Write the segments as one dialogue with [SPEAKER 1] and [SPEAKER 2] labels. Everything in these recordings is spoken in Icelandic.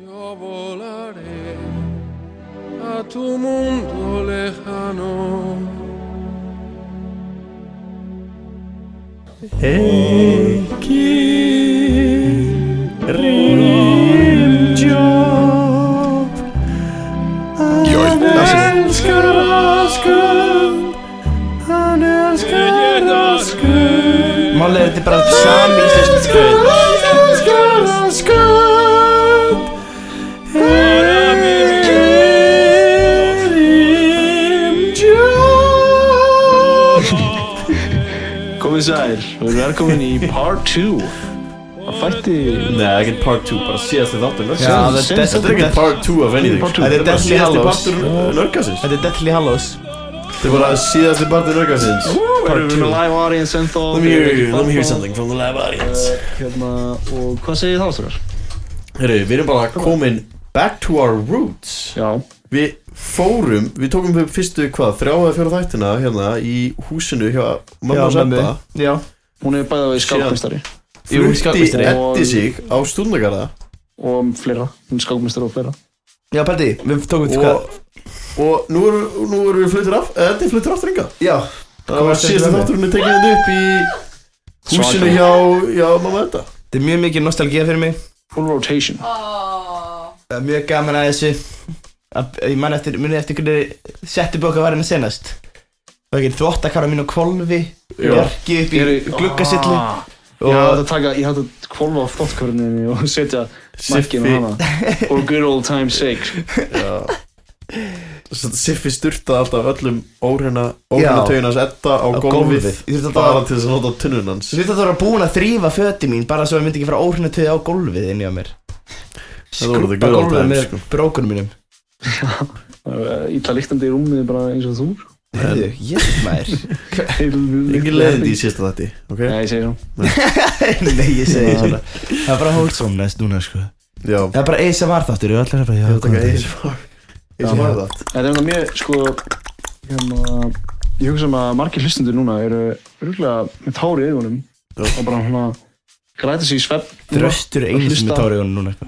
[SPEAKER 1] Yo volaré a tu mundo lejano.
[SPEAKER 2] Joj, alltså,
[SPEAKER 3] Málið er þetta er bara sami íslensk
[SPEAKER 4] Komið sæl og velkomin í part 2 að fætti
[SPEAKER 5] Nei, það er ekkert part 2, bara síðast þið þáttur
[SPEAKER 3] Já, þetta er-
[SPEAKER 5] Þetta er ekkert part 2 af anything
[SPEAKER 4] Part two.
[SPEAKER 5] Þetta er bara síðast
[SPEAKER 3] Deathly
[SPEAKER 5] þið
[SPEAKER 3] Hallows.
[SPEAKER 5] partur nörgasins
[SPEAKER 3] Þetta er Deathly Hallows
[SPEAKER 5] Þetta er bara síðast þið partur nörgasins
[SPEAKER 4] Erum við með live audience en þó
[SPEAKER 5] Let me hear, let me hear something from the live audience
[SPEAKER 4] Hérna, og hvað segir þá þessar?
[SPEAKER 5] Herru, við erum bara komin back to our roots
[SPEAKER 4] Já,
[SPEAKER 5] Við fórum, við tókum upp fyrstu hvað, þrjá eða fjóra þættina hérna í húsinu hjá mamma og
[SPEAKER 3] mömmu.
[SPEAKER 5] Seppa
[SPEAKER 3] Já,
[SPEAKER 4] hún er bæðið í
[SPEAKER 5] Síðan.
[SPEAKER 4] skákmestari
[SPEAKER 3] Jú,
[SPEAKER 5] Flutti
[SPEAKER 3] skákmeistari.
[SPEAKER 5] Eddi sig á stúdnagarða
[SPEAKER 4] og fleira, hún er skákmestari og fleira
[SPEAKER 3] já pældi, í, við tókum þetta hvað
[SPEAKER 5] og, og nú erum nú erum við fluttir af, Eddi fluttir aftur ringa
[SPEAKER 3] Já,
[SPEAKER 5] Það var síðast
[SPEAKER 3] Hvað varstu
[SPEAKER 5] þátturinn er tekið þetta upp í húsinu hjá, hjá mamma þetta
[SPEAKER 3] þetta er mjög mikið nostalgía fyrir mig
[SPEAKER 4] Full rotation
[SPEAKER 3] Það er mjög gaman að þessu að, Ég man eftir, muni eftir hvernig setti bóka var henni senast Það er ekki þvóttakára mín og kvolfi Bjarki upp í gluggasillu
[SPEAKER 4] ah, Ég
[SPEAKER 3] Og
[SPEAKER 4] hætti að taka, ég hætti að kvolfa á þóttkörninni og setja markinu
[SPEAKER 5] Siffi.
[SPEAKER 4] hana For good old time's sake
[SPEAKER 5] Þess að Siffi styrtaði alltaf öllum órena órena
[SPEAKER 3] Já.
[SPEAKER 5] tögin hans Edda á
[SPEAKER 3] Á
[SPEAKER 5] gólfið
[SPEAKER 3] gólfið. Ég þurfti alltaf
[SPEAKER 5] bara
[SPEAKER 3] að-
[SPEAKER 5] til þess að nota tunnun hans
[SPEAKER 3] Svo þetta var búin að þrýfa föti mín bara svo að ég myndi ekki fara óhrinu töði á gólfið inni á mér
[SPEAKER 5] voru the
[SPEAKER 3] Skrúpa
[SPEAKER 5] good old
[SPEAKER 3] gólfið
[SPEAKER 5] times,
[SPEAKER 3] með
[SPEAKER 5] sko.
[SPEAKER 3] brókunum mínum
[SPEAKER 4] Ítla líktandi eh, í rúmið bara eins og þú
[SPEAKER 3] Herðu, ég maður
[SPEAKER 5] Engin leiðindi í síðasta þætti ok?
[SPEAKER 4] Nei, ég segir hún
[SPEAKER 3] Nei, ég segi svona Það er bara wholesome næst núna sko
[SPEAKER 5] Já
[SPEAKER 3] Það er bara ASMR þáttur og allir er bara já,
[SPEAKER 5] Ég vil
[SPEAKER 3] góðan
[SPEAKER 5] taka
[SPEAKER 3] daginn.
[SPEAKER 5] eins og eins og
[SPEAKER 3] Já.
[SPEAKER 5] var það
[SPEAKER 4] Þetta er enda mjög, sko, hérna, ég hugsa um að margir hlustundur núna eru örgulega með tár í augunum
[SPEAKER 5] Já.
[SPEAKER 4] og bara hérna græta sig í svepp.
[SPEAKER 3] Þröstur er einu sem er tárið honum núna sko.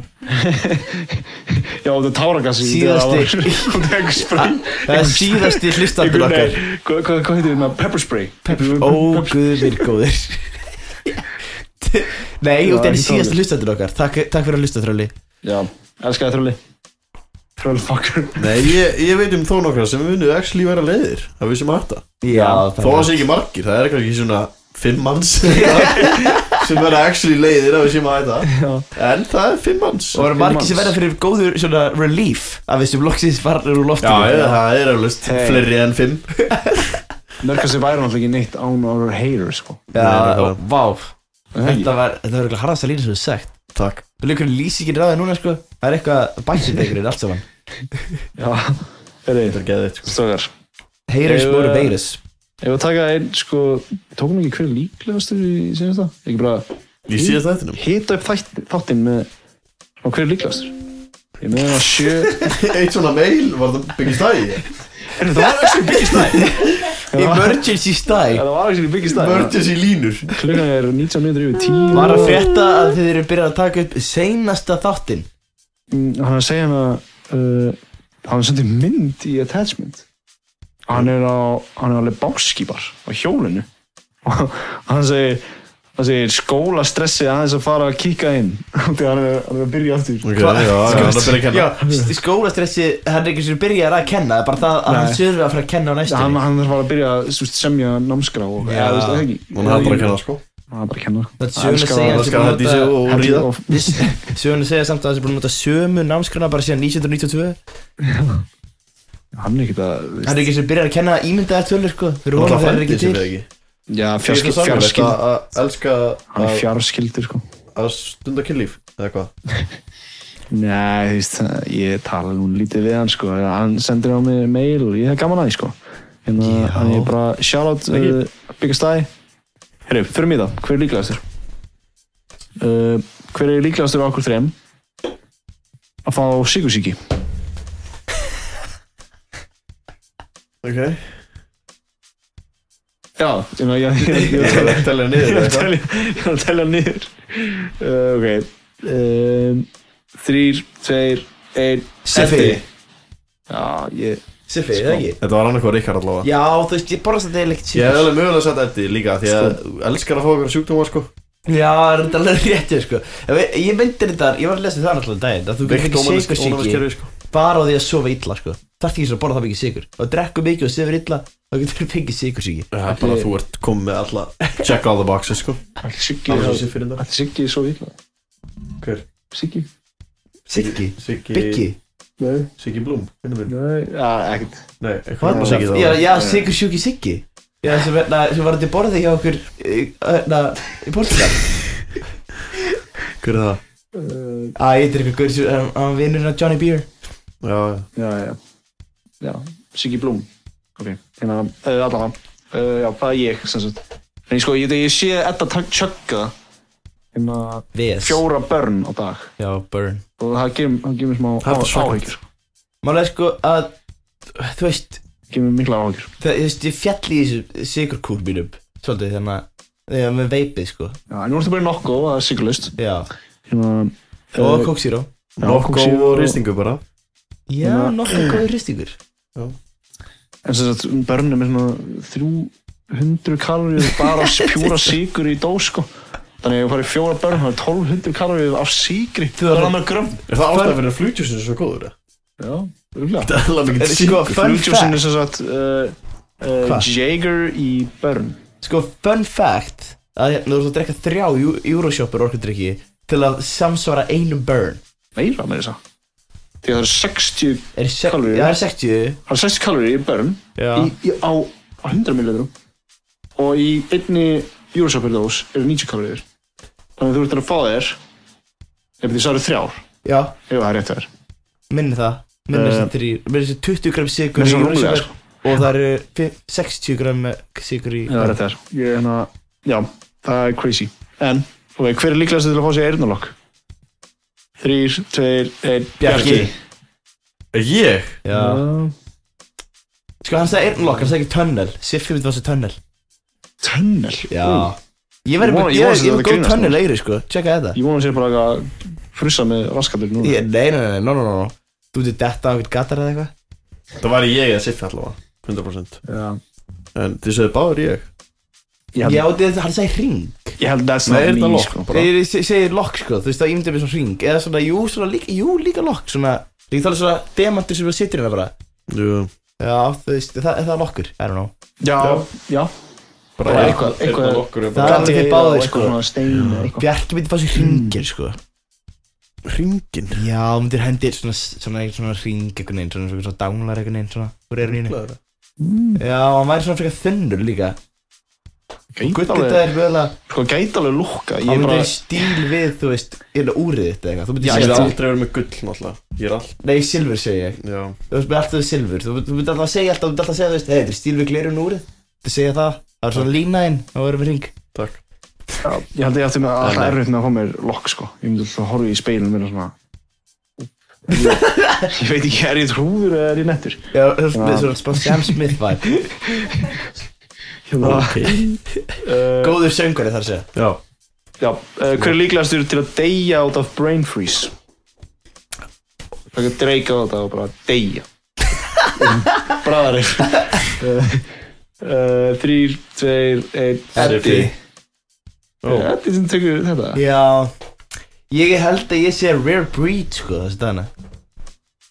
[SPEAKER 4] Já, þetta er táragassi.
[SPEAKER 3] Síðasti-
[SPEAKER 4] Hún tekur spray.
[SPEAKER 3] Það er síðasti hlustandur
[SPEAKER 4] Einhvern
[SPEAKER 3] okkar
[SPEAKER 4] veginn- Hvað hva, hva heitir þetta? Pepper spray. Pepper,
[SPEAKER 3] Ó, guðir góðir Nei,
[SPEAKER 4] Já,
[SPEAKER 3] og þetta er
[SPEAKER 4] ekki
[SPEAKER 3] síðasti
[SPEAKER 4] tárið.
[SPEAKER 3] hlustandur okkar Takk, takk fyrir að hlusta þröli
[SPEAKER 4] Já, elska það þröli. Þrölfucker.
[SPEAKER 5] Nei, ég, ég veit um þó nokkra sem munu actually vera leiðir af við sem að þetta
[SPEAKER 3] Já,
[SPEAKER 5] Þó að sé ekki margir, það er kannski svona fimm manns sem vera actually leiðir af við sem að
[SPEAKER 4] Já.
[SPEAKER 5] þetta En það er fimm manns
[SPEAKER 3] Og það eru margir sem
[SPEAKER 4] manns.
[SPEAKER 3] verða fyrir góður svona relief af þessum loksins farnir úr
[SPEAKER 5] Já,
[SPEAKER 3] loftinu
[SPEAKER 5] ég, það er eflust
[SPEAKER 3] Hey.
[SPEAKER 5] fleiri en fimm
[SPEAKER 4] Nörgast væri náttúrulega ekki neitt án ára heyrir, sko.
[SPEAKER 3] Já, og vá
[SPEAKER 4] Er það ekki?
[SPEAKER 3] Þetta var, þetta var eitthvað harðast að lína sem þú sagt
[SPEAKER 5] Takk
[SPEAKER 3] Þú líkur lýsingin ráðið núna sko Það er eitthvað bæsinn einhverjir allt saman
[SPEAKER 4] Já, heyrðu,
[SPEAKER 5] Þetta er geðið sko
[SPEAKER 4] stökar.
[SPEAKER 3] Heyrus
[SPEAKER 4] Ef,
[SPEAKER 3] voru
[SPEAKER 4] eh,
[SPEAKER 3] beirus
[SPEAKER 4] Ef við taka einn, sko, tókum við ekki hver líklegastur í senast það? Ekki bara
[SPEAKER 5] Í síðast þættinum
[SPEAKER 4] hita upp þætt, þáttinn með og hver er líklegastur? Ég með það sjö
[SPEAKER 5] Eitt svona mail var það byggist það í
[SPEAKER 4] Er það var ekki byggist það?
[SPEAKER 3] Emergency stæ
[SPEAKER 4] Það var ekki byggist það
[SPEAKER 5] Emergency línur
[SPEAKER 4] Klukkan er 19 minnur yfir 10
[SPEAKER 3] Var að frétta að þið eru byrjað að taka upp seinasta þáttinn
[SPEAKER 4] Mm, Hann er að segja hann að uh, hann sendi mynd í attachment Hann er á hann er alveg báskípar á hjólinu og hann segir hann segir skóla stressið aðeins að fara að kíka inn þegar hann er, hann er að byrja aftur
[SPEAKER 5] Ok, já, já, það er að byrja að kenna
[SPEAKER 3] Já, st- skólastressi, hann er ekki sem byrjar að kenna Það er bara það að hann
[SPEAKER 4] Nei.
[SPEAKER 3] sörfi að fara að kenna á
[SPEAKER 4] hann,
[SPEAKER 3] næstunni
[SPEAKER 4] hann þarf að fara að byrja að þú veist, semja námskrá og
[SPEAKER 3] Já.
[SPEAKER 4] eða, þú veist, það ekki
[SPEAKER 5] Hún er bara að kenna sko
[SPEAKER 4] hann er bara að kenna
[SPEAKER 3] Það er söguna
[SPEAKER 4] Elskar
[SPEAKER 3] segja
[SPEAKER 4] að-
[SPEAKER 5] Það skal
[SPEAKER 3] að þessi búin
[SPEAKER 5] hætti sig
[SPEAKER 3] nota-
[SPEAKER 5] og ríða
[SPEAKER 4] Og-
[SPEAKER 3] Söguna segja samt að þessi búin að nota sömu námskrana bara síðan 1992
[SPEAKER 4] hann er ekkert að þú veist,
[SPEAKER 3] Það er ekki sem byrjar að kenna ímyndaðar tölur sko Fyrir
[SPEAKER 5] Hún er
[SPEAKER 3] honum
[SPEAKER 5] alltaf
[SPEAKER 3] það er
[SPEAKER 5] fændi
[SPEAKER 3] ekki
[SPEAKER 5] sem við
[SPEAKER 3] til
[SPEAKER 5] ekki
[SPEAKER 4] já,
[SPEAKER 5] Fjarskild
[SPEAKER 4] fjarskild,
[SPEAKER 5] Fjarskild
[SPEAKER 4] fjarskild
[SPEAKER 5] Að elska
[SPEAKER 4] hann er
[SPEAKER 5] að-
[SPEAKER 4] fjarskildur sko
[SPEAKER 5] að stunda kynlíf Eða hvað
[SPEAKER 4] nei, þú veist, ég tala nú lítið við hann sko, hann sendir á mig mail og ég hef gaman að því sko en
[SPEAKER 3] Já.
[SPEAKER 4] hann er bara shoutout uh, byggast aði herru, fyrir mig það, hver er líklegastur uh, hver er líklegastur á okkur þrem að fá sigursíki
[SPEAKER 5] Ok
[SPEAKER 4] já, ég meina, ég- ég- ég-
[SPEAKER 5] Ég
[SPEAKER 4] ég-
[SPEAKER 5] er að telja niður
[SPEAKER 4] Ég er að
[SPEAKER 5] eða eitthvað.
[SPEAKER 4] telja- ég er að telja niður uh, Ok um, þrýr, tveir, einn
[SPEAKER 3] Siffi
[SPEAKER 4] Já, ég
[SPEAKER 3] Siffi, það ekki
[SPEAKER 5] Þetta var annarkoð Ríkar allavega
[SPEAKER 3] Já, þú veist, ég borðast þetta eiginlega ekki
[SPEAKER 5] Sko. Ég hef
[SPEAKER 3] síðar
[SPEAKER 5] alveg mögulega sett Eddi líka Því að þú elskar að fá okkur sjúkdóma sko
[SPEAKER 3] Já, það er þetta alveg réttið, sko Ég, veit- ég myndir þetta, ég var að lesa það náttúrulega um daginn að þú getur ekki
[SPEAKER 5] Veikt
[SPEAKER 3] sigur
[SPEAKER 5] ónæmiskerfi
[SPEAKER 3] sigur
[SPEAKER 5] sko
[SPEAKER 3] bara á því að sofa illa, sko Það ert ekki svo að borða það mikið sigur og drekku mikið og sefur illa þá getur þú fengið sigur sigur
[SPEAKER 5] Það er bara að þú ert komið með alla Check all the boxes sko
[SPEAKER 4] Allir Siggi
[SPEAKER 5] Það var
[SPEAKER 4] Allir
[SPEAKER 5] sér fyrir það
[SPEAKER 4] Siggi er svo illa
[SPEAKER 5] Hver?
[SPEAKER 4] Siggi
[SPEAKER 3] Siggi,
[SPEAKER 5] Siggi
[SPEAKER 3] Biggi
[SPEAKER 4] Nei
[SPEAKER 5] Siggi Blúm Finnum við
[SPEAKER 4] Nei, já, ekkert
[SPEAKER 5] Nei, eitthvað
[SPEAKER 3] Hvað?
[SPEAKER 5] annað Siggi
[SPEAKER 3] Já,
[SPEAKER 5] það
[SPEAKER 3] já, Sigur Sjúki Siggi Já, sem, na, sem var þetta borðið hjá okkur na, í Portugal
[SPEAKER 5] Hver er það?
[SPEAKER 4] Uh,
[SPEAKER 3] Æ, þetta er eitthvað gaur sem- hann- hann vinnurinn af Johnny Beer
[SPEAKER 5] Já, já
[SPEAKER 4] Já, já Já, Siggi Blúm Ok, hérna uh, Allan uh, Já, það er ég, sem sagt En ég sko, ég, ég sé Edda tak- tjögga Hérna
[SPEAKER 3] VS
[SPEAKER 4] Fjóra börn á dag
[SPEAKER 3] Já, Burn
[SPEAKER 4] Og það gefur það gefur mér smá
[SPEAKER 5] Það er
[SPEAKER 4] á-
[SPEAKER 5] svakalegt.
[SPEAKER 4] áhyggjur
[SPEAKER 3] Málega sko að Þú veist,
[SPEAKER 4] Gefur mér mikla áhyggjur
[SPEAKER 3] það, þú veist, ég fjall í þessu sigurkúr mínum Svolítið þannig að Þegar með veipið sko
[SPEAKER 4] Já, en nú ertu bara í nokko Það er sigurlaust
[SPEAKER 3] Já
[SPEAKER 4] Hérna
[SPEAKER 3] Og
[SPEAKER 4] eh,
[SPEAKER 3] Coke Zero
[SPEAKER 4] Já,
[SPEAKER 5] Nokko
[SPEAKER 4] Coke Zero.
[SPEAKER 5] og rýstingu bara
[SPEAKER 3] Já, nokkuð góður hristingur
[SPEAKER 4] En sem sagt, börnum er svona 300 kaloríu bara af pjúra sigur í dós sko. Þannig að ég farið fjóra börn, það er 1200 kaloríu af sigri.
[SPEAKER 3] Þú
[SPEAKER 4] Það er
[SPEAKER 3] þarf-
[SPEAKER 4] að mér grömm.
[SPEAKER 5] Er það ástæðan fyrir að flugtjúsin er svo góður? eða?
[SPEAKER 4] Já, rúglega.
[SPEAKER 5] Það er alveg
[SPEAKER 3] Er
[SPEAKER 5] mikið
[SPEAKER 3] sko,
[SPEAKER 5] sigur
[SPEAKER 3] fun
[SPEAKER 4] Flugtjósin er
[SPEAKER 3] fact
[SPEAKER 4] sem sagt uh, uh,
[SPEAKER 3] Hva?
[SPEAKER 4] Jager í börn.
[SPEAKER 3] Sko, fun fact Að hérna þú ert að drekka þrjá Ju- Euroshopper orkudrykki Til að samsvara einum burn
[SPEAKER 4] Meira með þess að. Því að það eru 60,
[SPEAKER 3] Er se-
[SPEAKER 4] Kaloríur.
[SPEAKER 3] Já, það er 60
[SPEAKER 4] það eru 60 kaloríu í börn
[SPEAKER 3] Já
[SPEAKER 4] í, í, á, á 100 millilitrum. Og í einni júrasöpil dós eru 90 kaloríur. Þannig að þú ert að fá þér, ef því það eru þrjár,
[SPEAKER 3] Já,
[SPEAKER 4] ef það er rétt að þér.
[SPEAKER 3] minni það Minni
[SPEAKER 4] Eh,
[SPEAKER 3] þessi þrýr Minni þessi 20 gram sigur
[SPEAKER 4] Mér er svo rúmlega, sko.
[SPEAKER 3] Og það eru fi- 60 gram sigur í
[SPEAKER 4] Já, það er þetta er. Ég, hérna, já, það er crazy. En, ok, hver er líklegast til að fá sér eirnalokk? Þrýr, tveir, einn,
[SPEAKER 3] Bjarki
[SPEAKER 5] Ég?
[SPEAKER 3] Já Sko hann sagði eirnlokk, hann sagði ekki tunnel Siffi myndi var sér tunnel
[SPEAKER 4] Tunnel. Ú,
[SPEAKER 3] Ég verði
[SPEAKER 4] Ég
[SPEAKER 3] bara,
[SPEAKER 4] vona- ég
[SPEAKER 3] ég
[SPEAKER 4] vona sem
[SPEAKER 3] verði
[SPEAKER 4] þetta
[SPEAKER 3] bara góð
[SPEAKER 4] grínast,
[SPEAKER 3] tunnel eiri sko Tjekka þetta
[SPEAKER 4] Ég vona sér bara að frussa með raskatur núna.
[SPEAKER 3] Ég- Nei, nei, nei, no, no, no, no Þú ert detta á einhvern gatar eða eitthvað
[SPEAKER 5] Það var ég að siffi allavega 100%
[SPEAKER 4] Já.
[SPEAKER 5] En þið sögðu báður ég
[SPEAKER 4] Ég
[SPEAKER 3] Já,
[SPEAKER 4] held,
[SPEAKER 3] þetta, hann sagði ring
[SPEAKER 4] ég held that's
[SPEAKER 5] Nei,
[SPEAKER 4] not
[SPEAKER 5] er þetta
[SPEAKER 4] me,
[SPEAKER 5] lokk
[SPEAKER 4] sko.
[SPEAKER 5] bara?
[SPEAKER 3] Ég se- segi lokk sko, þú veist það ímyndið mér svona ring Eða svona, jú, svona líka, jú, líka lokk Svona, líka tala svona demantur sem við sittir hérna bara
[SPEAKER 5] Jú
[SPEAKER 3] Já, þú veist, það, það er lokkur, I don't know
[SPEAKER 4] Já, já.
[SPEAKER 5] Bara
[SPEAKER 4] Bara
[SPEAKER 5] ég
[SPEAKER 4] eitthvað-
[SPEAKER 5] Er
[SPEAKER 4] eitthvað-
[SPEAKER 5] það okkur
[SPEAKER 3] Það er alveg þið báðir, sko.
[SPEAKER 4] Eitthvað svona stein eða eitthvað.
[SPEAKER 3] Bjarki myndi fá sér hringir sko
[SPEAKER 5] um- Ringin
[SPEAKER 3] Já, þú myndir hendi svona, svona, svona, svona ring einhvern veginn, svona, svona, svona danglar einhvern veginn, svona, úr eirun íni Já, hann væri svona frekar þunnur líka
[SPEAKER 4] Gæti
[SPEAKER 3] Gutt þetta
[SPEAKER 4] alveg,
[SPEAKER 3] er mögulega,
[SPEAKER 4] sko, gæti alveg lukka. Ég
[SPEAKER 3] hann
[SPEAKER 4] er
[SPEAKER 3] myndir
[SPEAKER 4] bara,
[SPEAKER 3] í stíl við, þú veist, eða úrið þitt eða eitthvað
[SPEAKER 4] Já,
[SPEAKER 3] Þú myndir
[SPEAKER 5] Ég hef
[SPEAKER 4] þetta-
[SPEAKER 5] aldrei verið með gull náttúrulega Ég er all
[SPEAKER 3] nei, silfur segi ég
[SPEAKER 5] Já
[SPEAKER 3] Þú veist, með alltaf silfur, þú, þú myndir alltaf að segja alltaf, þú myndir alltaf að segja, þú veist, hei, þetta er stíl við glerun úrið Þú segja það, það er svona línaðinn, þá erum við ring
[SPEAKER 5] Takk
[SPEAKER 4] já, ég held að ég ætti með alltaf
[SPEAKER 5] Nei, nei.
[SPEAKER 4] erfitt með að fá mér lokk, sko. Ég myndi alltaf að horfa í speilin og vera svona... Ég, ég veit ekki, er ég trúður eða er ég nettur?
[SPEAKER 3] Já, þú veist, með svona smá Sam Smith vibe
[SPEAKER 4] Hérna, uh,
[SPEAKER 3] Góður söngari þar að segja
[SPEAKER 5] Já
[SPEAKER 4] já, uh, hver er líklegastur til að deyja át af brain freeze? Það er dreika á þetta og bara deyja. Bræðarinn. Uh, uh, þrýr, tveir, einn, Eddi.
[SPEAKER 5] Ó.
[SPEAKER 4] Eddi sem tekur þetta.
[SPEAKER 3] Já Ég held að ég sé rare breed sko þessi dagana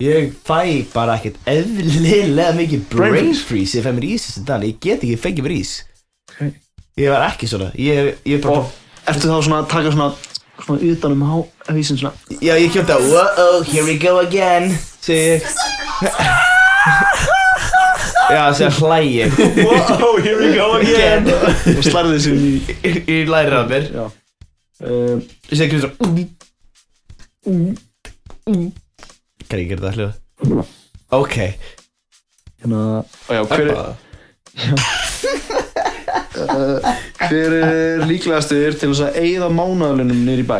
[SPEAKER 3] Ég fæ bara ekkert eðlilega mikið
[SPEAKER 4] Brain
[SPEAKER 3] brain freeze ef ég fæ mér ís þessi dagana Ég get ekki fengið mér ís
[SPEAKER 4] Ok.
[SPEAKER 3] Ég var ekki svona Ég, ég bara
[SPEAKER 4] Og ertu þá svona að taka svona, svona utan um hávísin svona.
[SPEAKER 3] Já ég kjöndi að Whoa, here we go again Segir ég Já segir hlæ ég
[SPEAKER 4] Wow, here we go
[SPEAKER 3] again.
[SPEAKER 4] og slærði þessi í...
[SPEAKER 3] Ég- Ég læri það mér
[SPEAKER 4] Já. Uh,
[SPEAKER 3] Segir kjöndi svona Kan ég gera það hljóð? Ok
[SPEAKER 4] hérna já, hver, er,
[SPEAKER 5] Ebba.
[SPEAKER 4] hver er líklegastur til þess að eigða mánaðalunum niður í bæ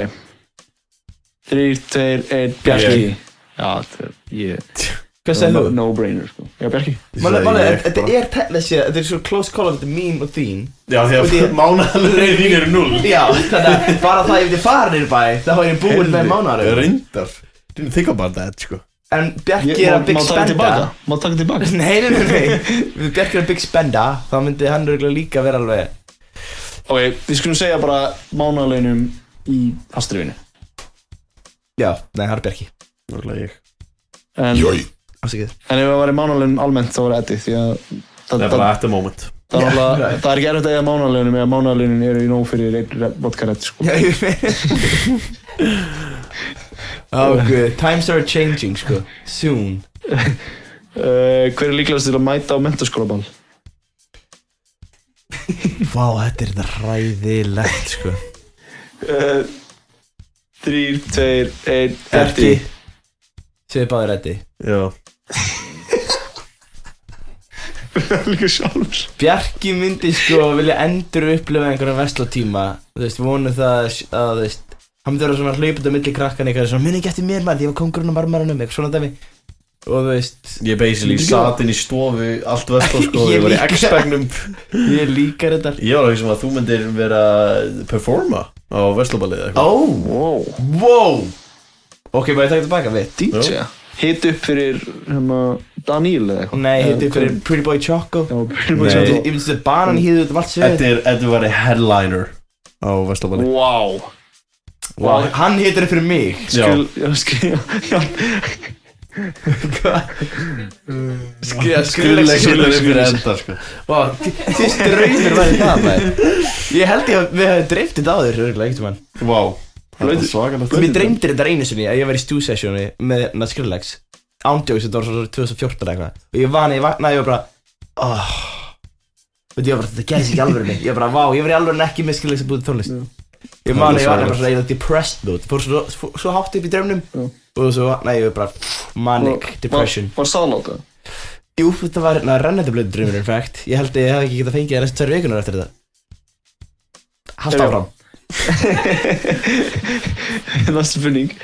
[SPEAKER 4] þrýr, tveir, einn, Bjarki
[SPEAKER 5] Ég.
[SPEAKER 4] já, þetta er ég
[SPEAKER 3] Hvað segir þú?
[SPEAKER 4] no brainer sko. já, Bjarki
[SPEAKER 3] Málega,
[SPEAKER 5] Ég
[SPEAKER 3] málega,
[SPEAKER 5] bara-
[SPEAKER 3] þetta er teknilega séð, þetta er svo close call of the meme og þín
[SPEAKER 5] Já
[SPEAKER 3] Og
[SPEAKER 5] því
[SPEAKER 3] því-
[SPEAKER 5] að mánaðalegi þín eru null
[SPEAKER 3] Já, þannig að bara það ef þið farin er bæ, þá er ég búinn með mánarum
[SPEAKER 5] Reyndar Didn't think about that, sko
[SPEAKER 3] En Bjarki er að big spenda
[SPEAKER 4] Má taka tilbaka
[SPEAKER 3] Nei, nei, nei, nei Við Bjarki er að big spenda Þá myndi hann örgulega líka vera alveg
[SPEAKER 4] Ok, við skulum segja bara mánalaunum í Astriðinu
[SPEAKER 3] Já, nei, það er Bjarki
[SPEAKER 5] Nákvæmlega ég
[SPEAKER 4] en,
[SPEAKER 5] Jói
[SPEAKER 3] Afsakið
[SPEAKER 4] en ef það væri mánalaunum almennt þá var Eddi Því að það,
[SPEAKER 5] Það er bara at the moment
[SPEAKER 4] það, það, það, það er ekki erfitt að eiga mánalaunum Eða mánalaunin eru í nóg fyrir einn vodkarett sko.
[SPEAKER 3] Já, ég veit Ó, guð Times are changing, sko Soon
[SPEAKER 4] uh, Hver er líklegast til að mæta á mentaskólaball?
[SPEAKER 3] Vá, þetta er það ræðilegt, sko
[SPEAKER 4] Uh, þrýr, tveir, einn
[SPEAKER 3] Bjarki
[SPEAKER 4] Eddi
[SPEAKER 3] Segðu báðir Eddi
[SPEAKER 5] Já
[SPEAKER 4] Líka sjálfur
[SPEAKER 3] Bjarki myndi sko vilja endur upplifa einhverja veslatíma Þú veist, vonu það að, þú veist Hann myndi vera svona hlaupandi á milli krakkan eitthvað svona Muni ekki eftir mér mann, ég var kongurinn á marmaranum Eitthvað svona dæmi Og þú veist,
[SPEAKER 5] Ég basically sat inn í stofu Allt vest á sko
[SPEAKER 3] Ég
[SPEAKER 5] Ég var í
[SPEAKER 3] líka.
[SPEAKER 5] X-Bagnum
[SPEAKER 3] ég líkar þetta
[SPEAKER 5] Ég var að hugsa um að þú myndir vera að Performa á vestlóbalið eitthvað
[SPEAKER 3] Ó,
[SPEAKER 4] Wow,
[SPEAKER 3] Oh, wow Ok, maður ég taka tilbaka við
[SPEAKER 4] DJ Hit upp fyrir hérna, Daniel eða eitthvað
[SPEAKER 3] Nei, hitti
[SPEAKER 4] Eða
[SPEAKER 3] fyrir Pretty Boy Choco
[SPEAKER 4] Já, Pretty
[SPEAKER 5] Nei.
[SPEAKER 4] Boy
[SPEAKER 3] Ég
[SPEAKER 4] Choco
[SPEAKER 3] myndi þetta banan hýðu út um allt svið
[SPEAKER 5] Þetta er, þetta var headliner Á vestlóbalið
[SPEAKER 4] Wow
[SPEAKER 3] wow. Hann hittir fyrir mig
[SPEAKER 4] Skil, já, skil, já, já
[SPEAKER 3] Skriða,
[SPEAKER 5] Skurleiksinni fyrir enda sko
[SPEAKER 3] Vá, þið ströymir væri það maður Ég held ég að við hefum dreift þetta á þér Örgulega, ekkert mann
[SPEAKER 5] Vá Það er
[SPEAKER 4] Veitu-
[SPEAKER 5] svakalegt
[SPEAKER 3] Mér dreymdi þetta einu sinni að ég var í stúsessjónu með hérna Skrillex Ándjóks, þetta var svo 2014 eða eitthvað Og ég vani, ég vaknaði, ég var bara oh. Veit, ég var bara, þetta gerðis ekki í alvörunni Ég var bara, vá, ég var í alvörunni ekki með Skrillex að búið tónlist
[SPEAKER 5] Það
[SPEAKER 3] Ég
[SPEAKER 5] er
[SPEAKER 3] vani, ég vaknaði
[SPEAKER 5] svakalegt.
[SPEAKER 3] bara svona, ég var depressed mood Fór svo, svo, svo hátt upp í dreymnum
[SPEAKER 4] Já.
[SPEAKER 3] Og svo vaknaði, ég var bara pff, manic, depression
[SPEAKER 4] Var, var staðláta
[SPEAKER 3] Jú, þetta var hérna rennandi blöðu draumur in fact Ég held að ég hef ekki getað fengið það næstu tvær vikunar eftir þetta Hallt
[SPEAKER 4] Já.
[SPEAKER 3] áfram
[SPEAKER 4] Næsta spurning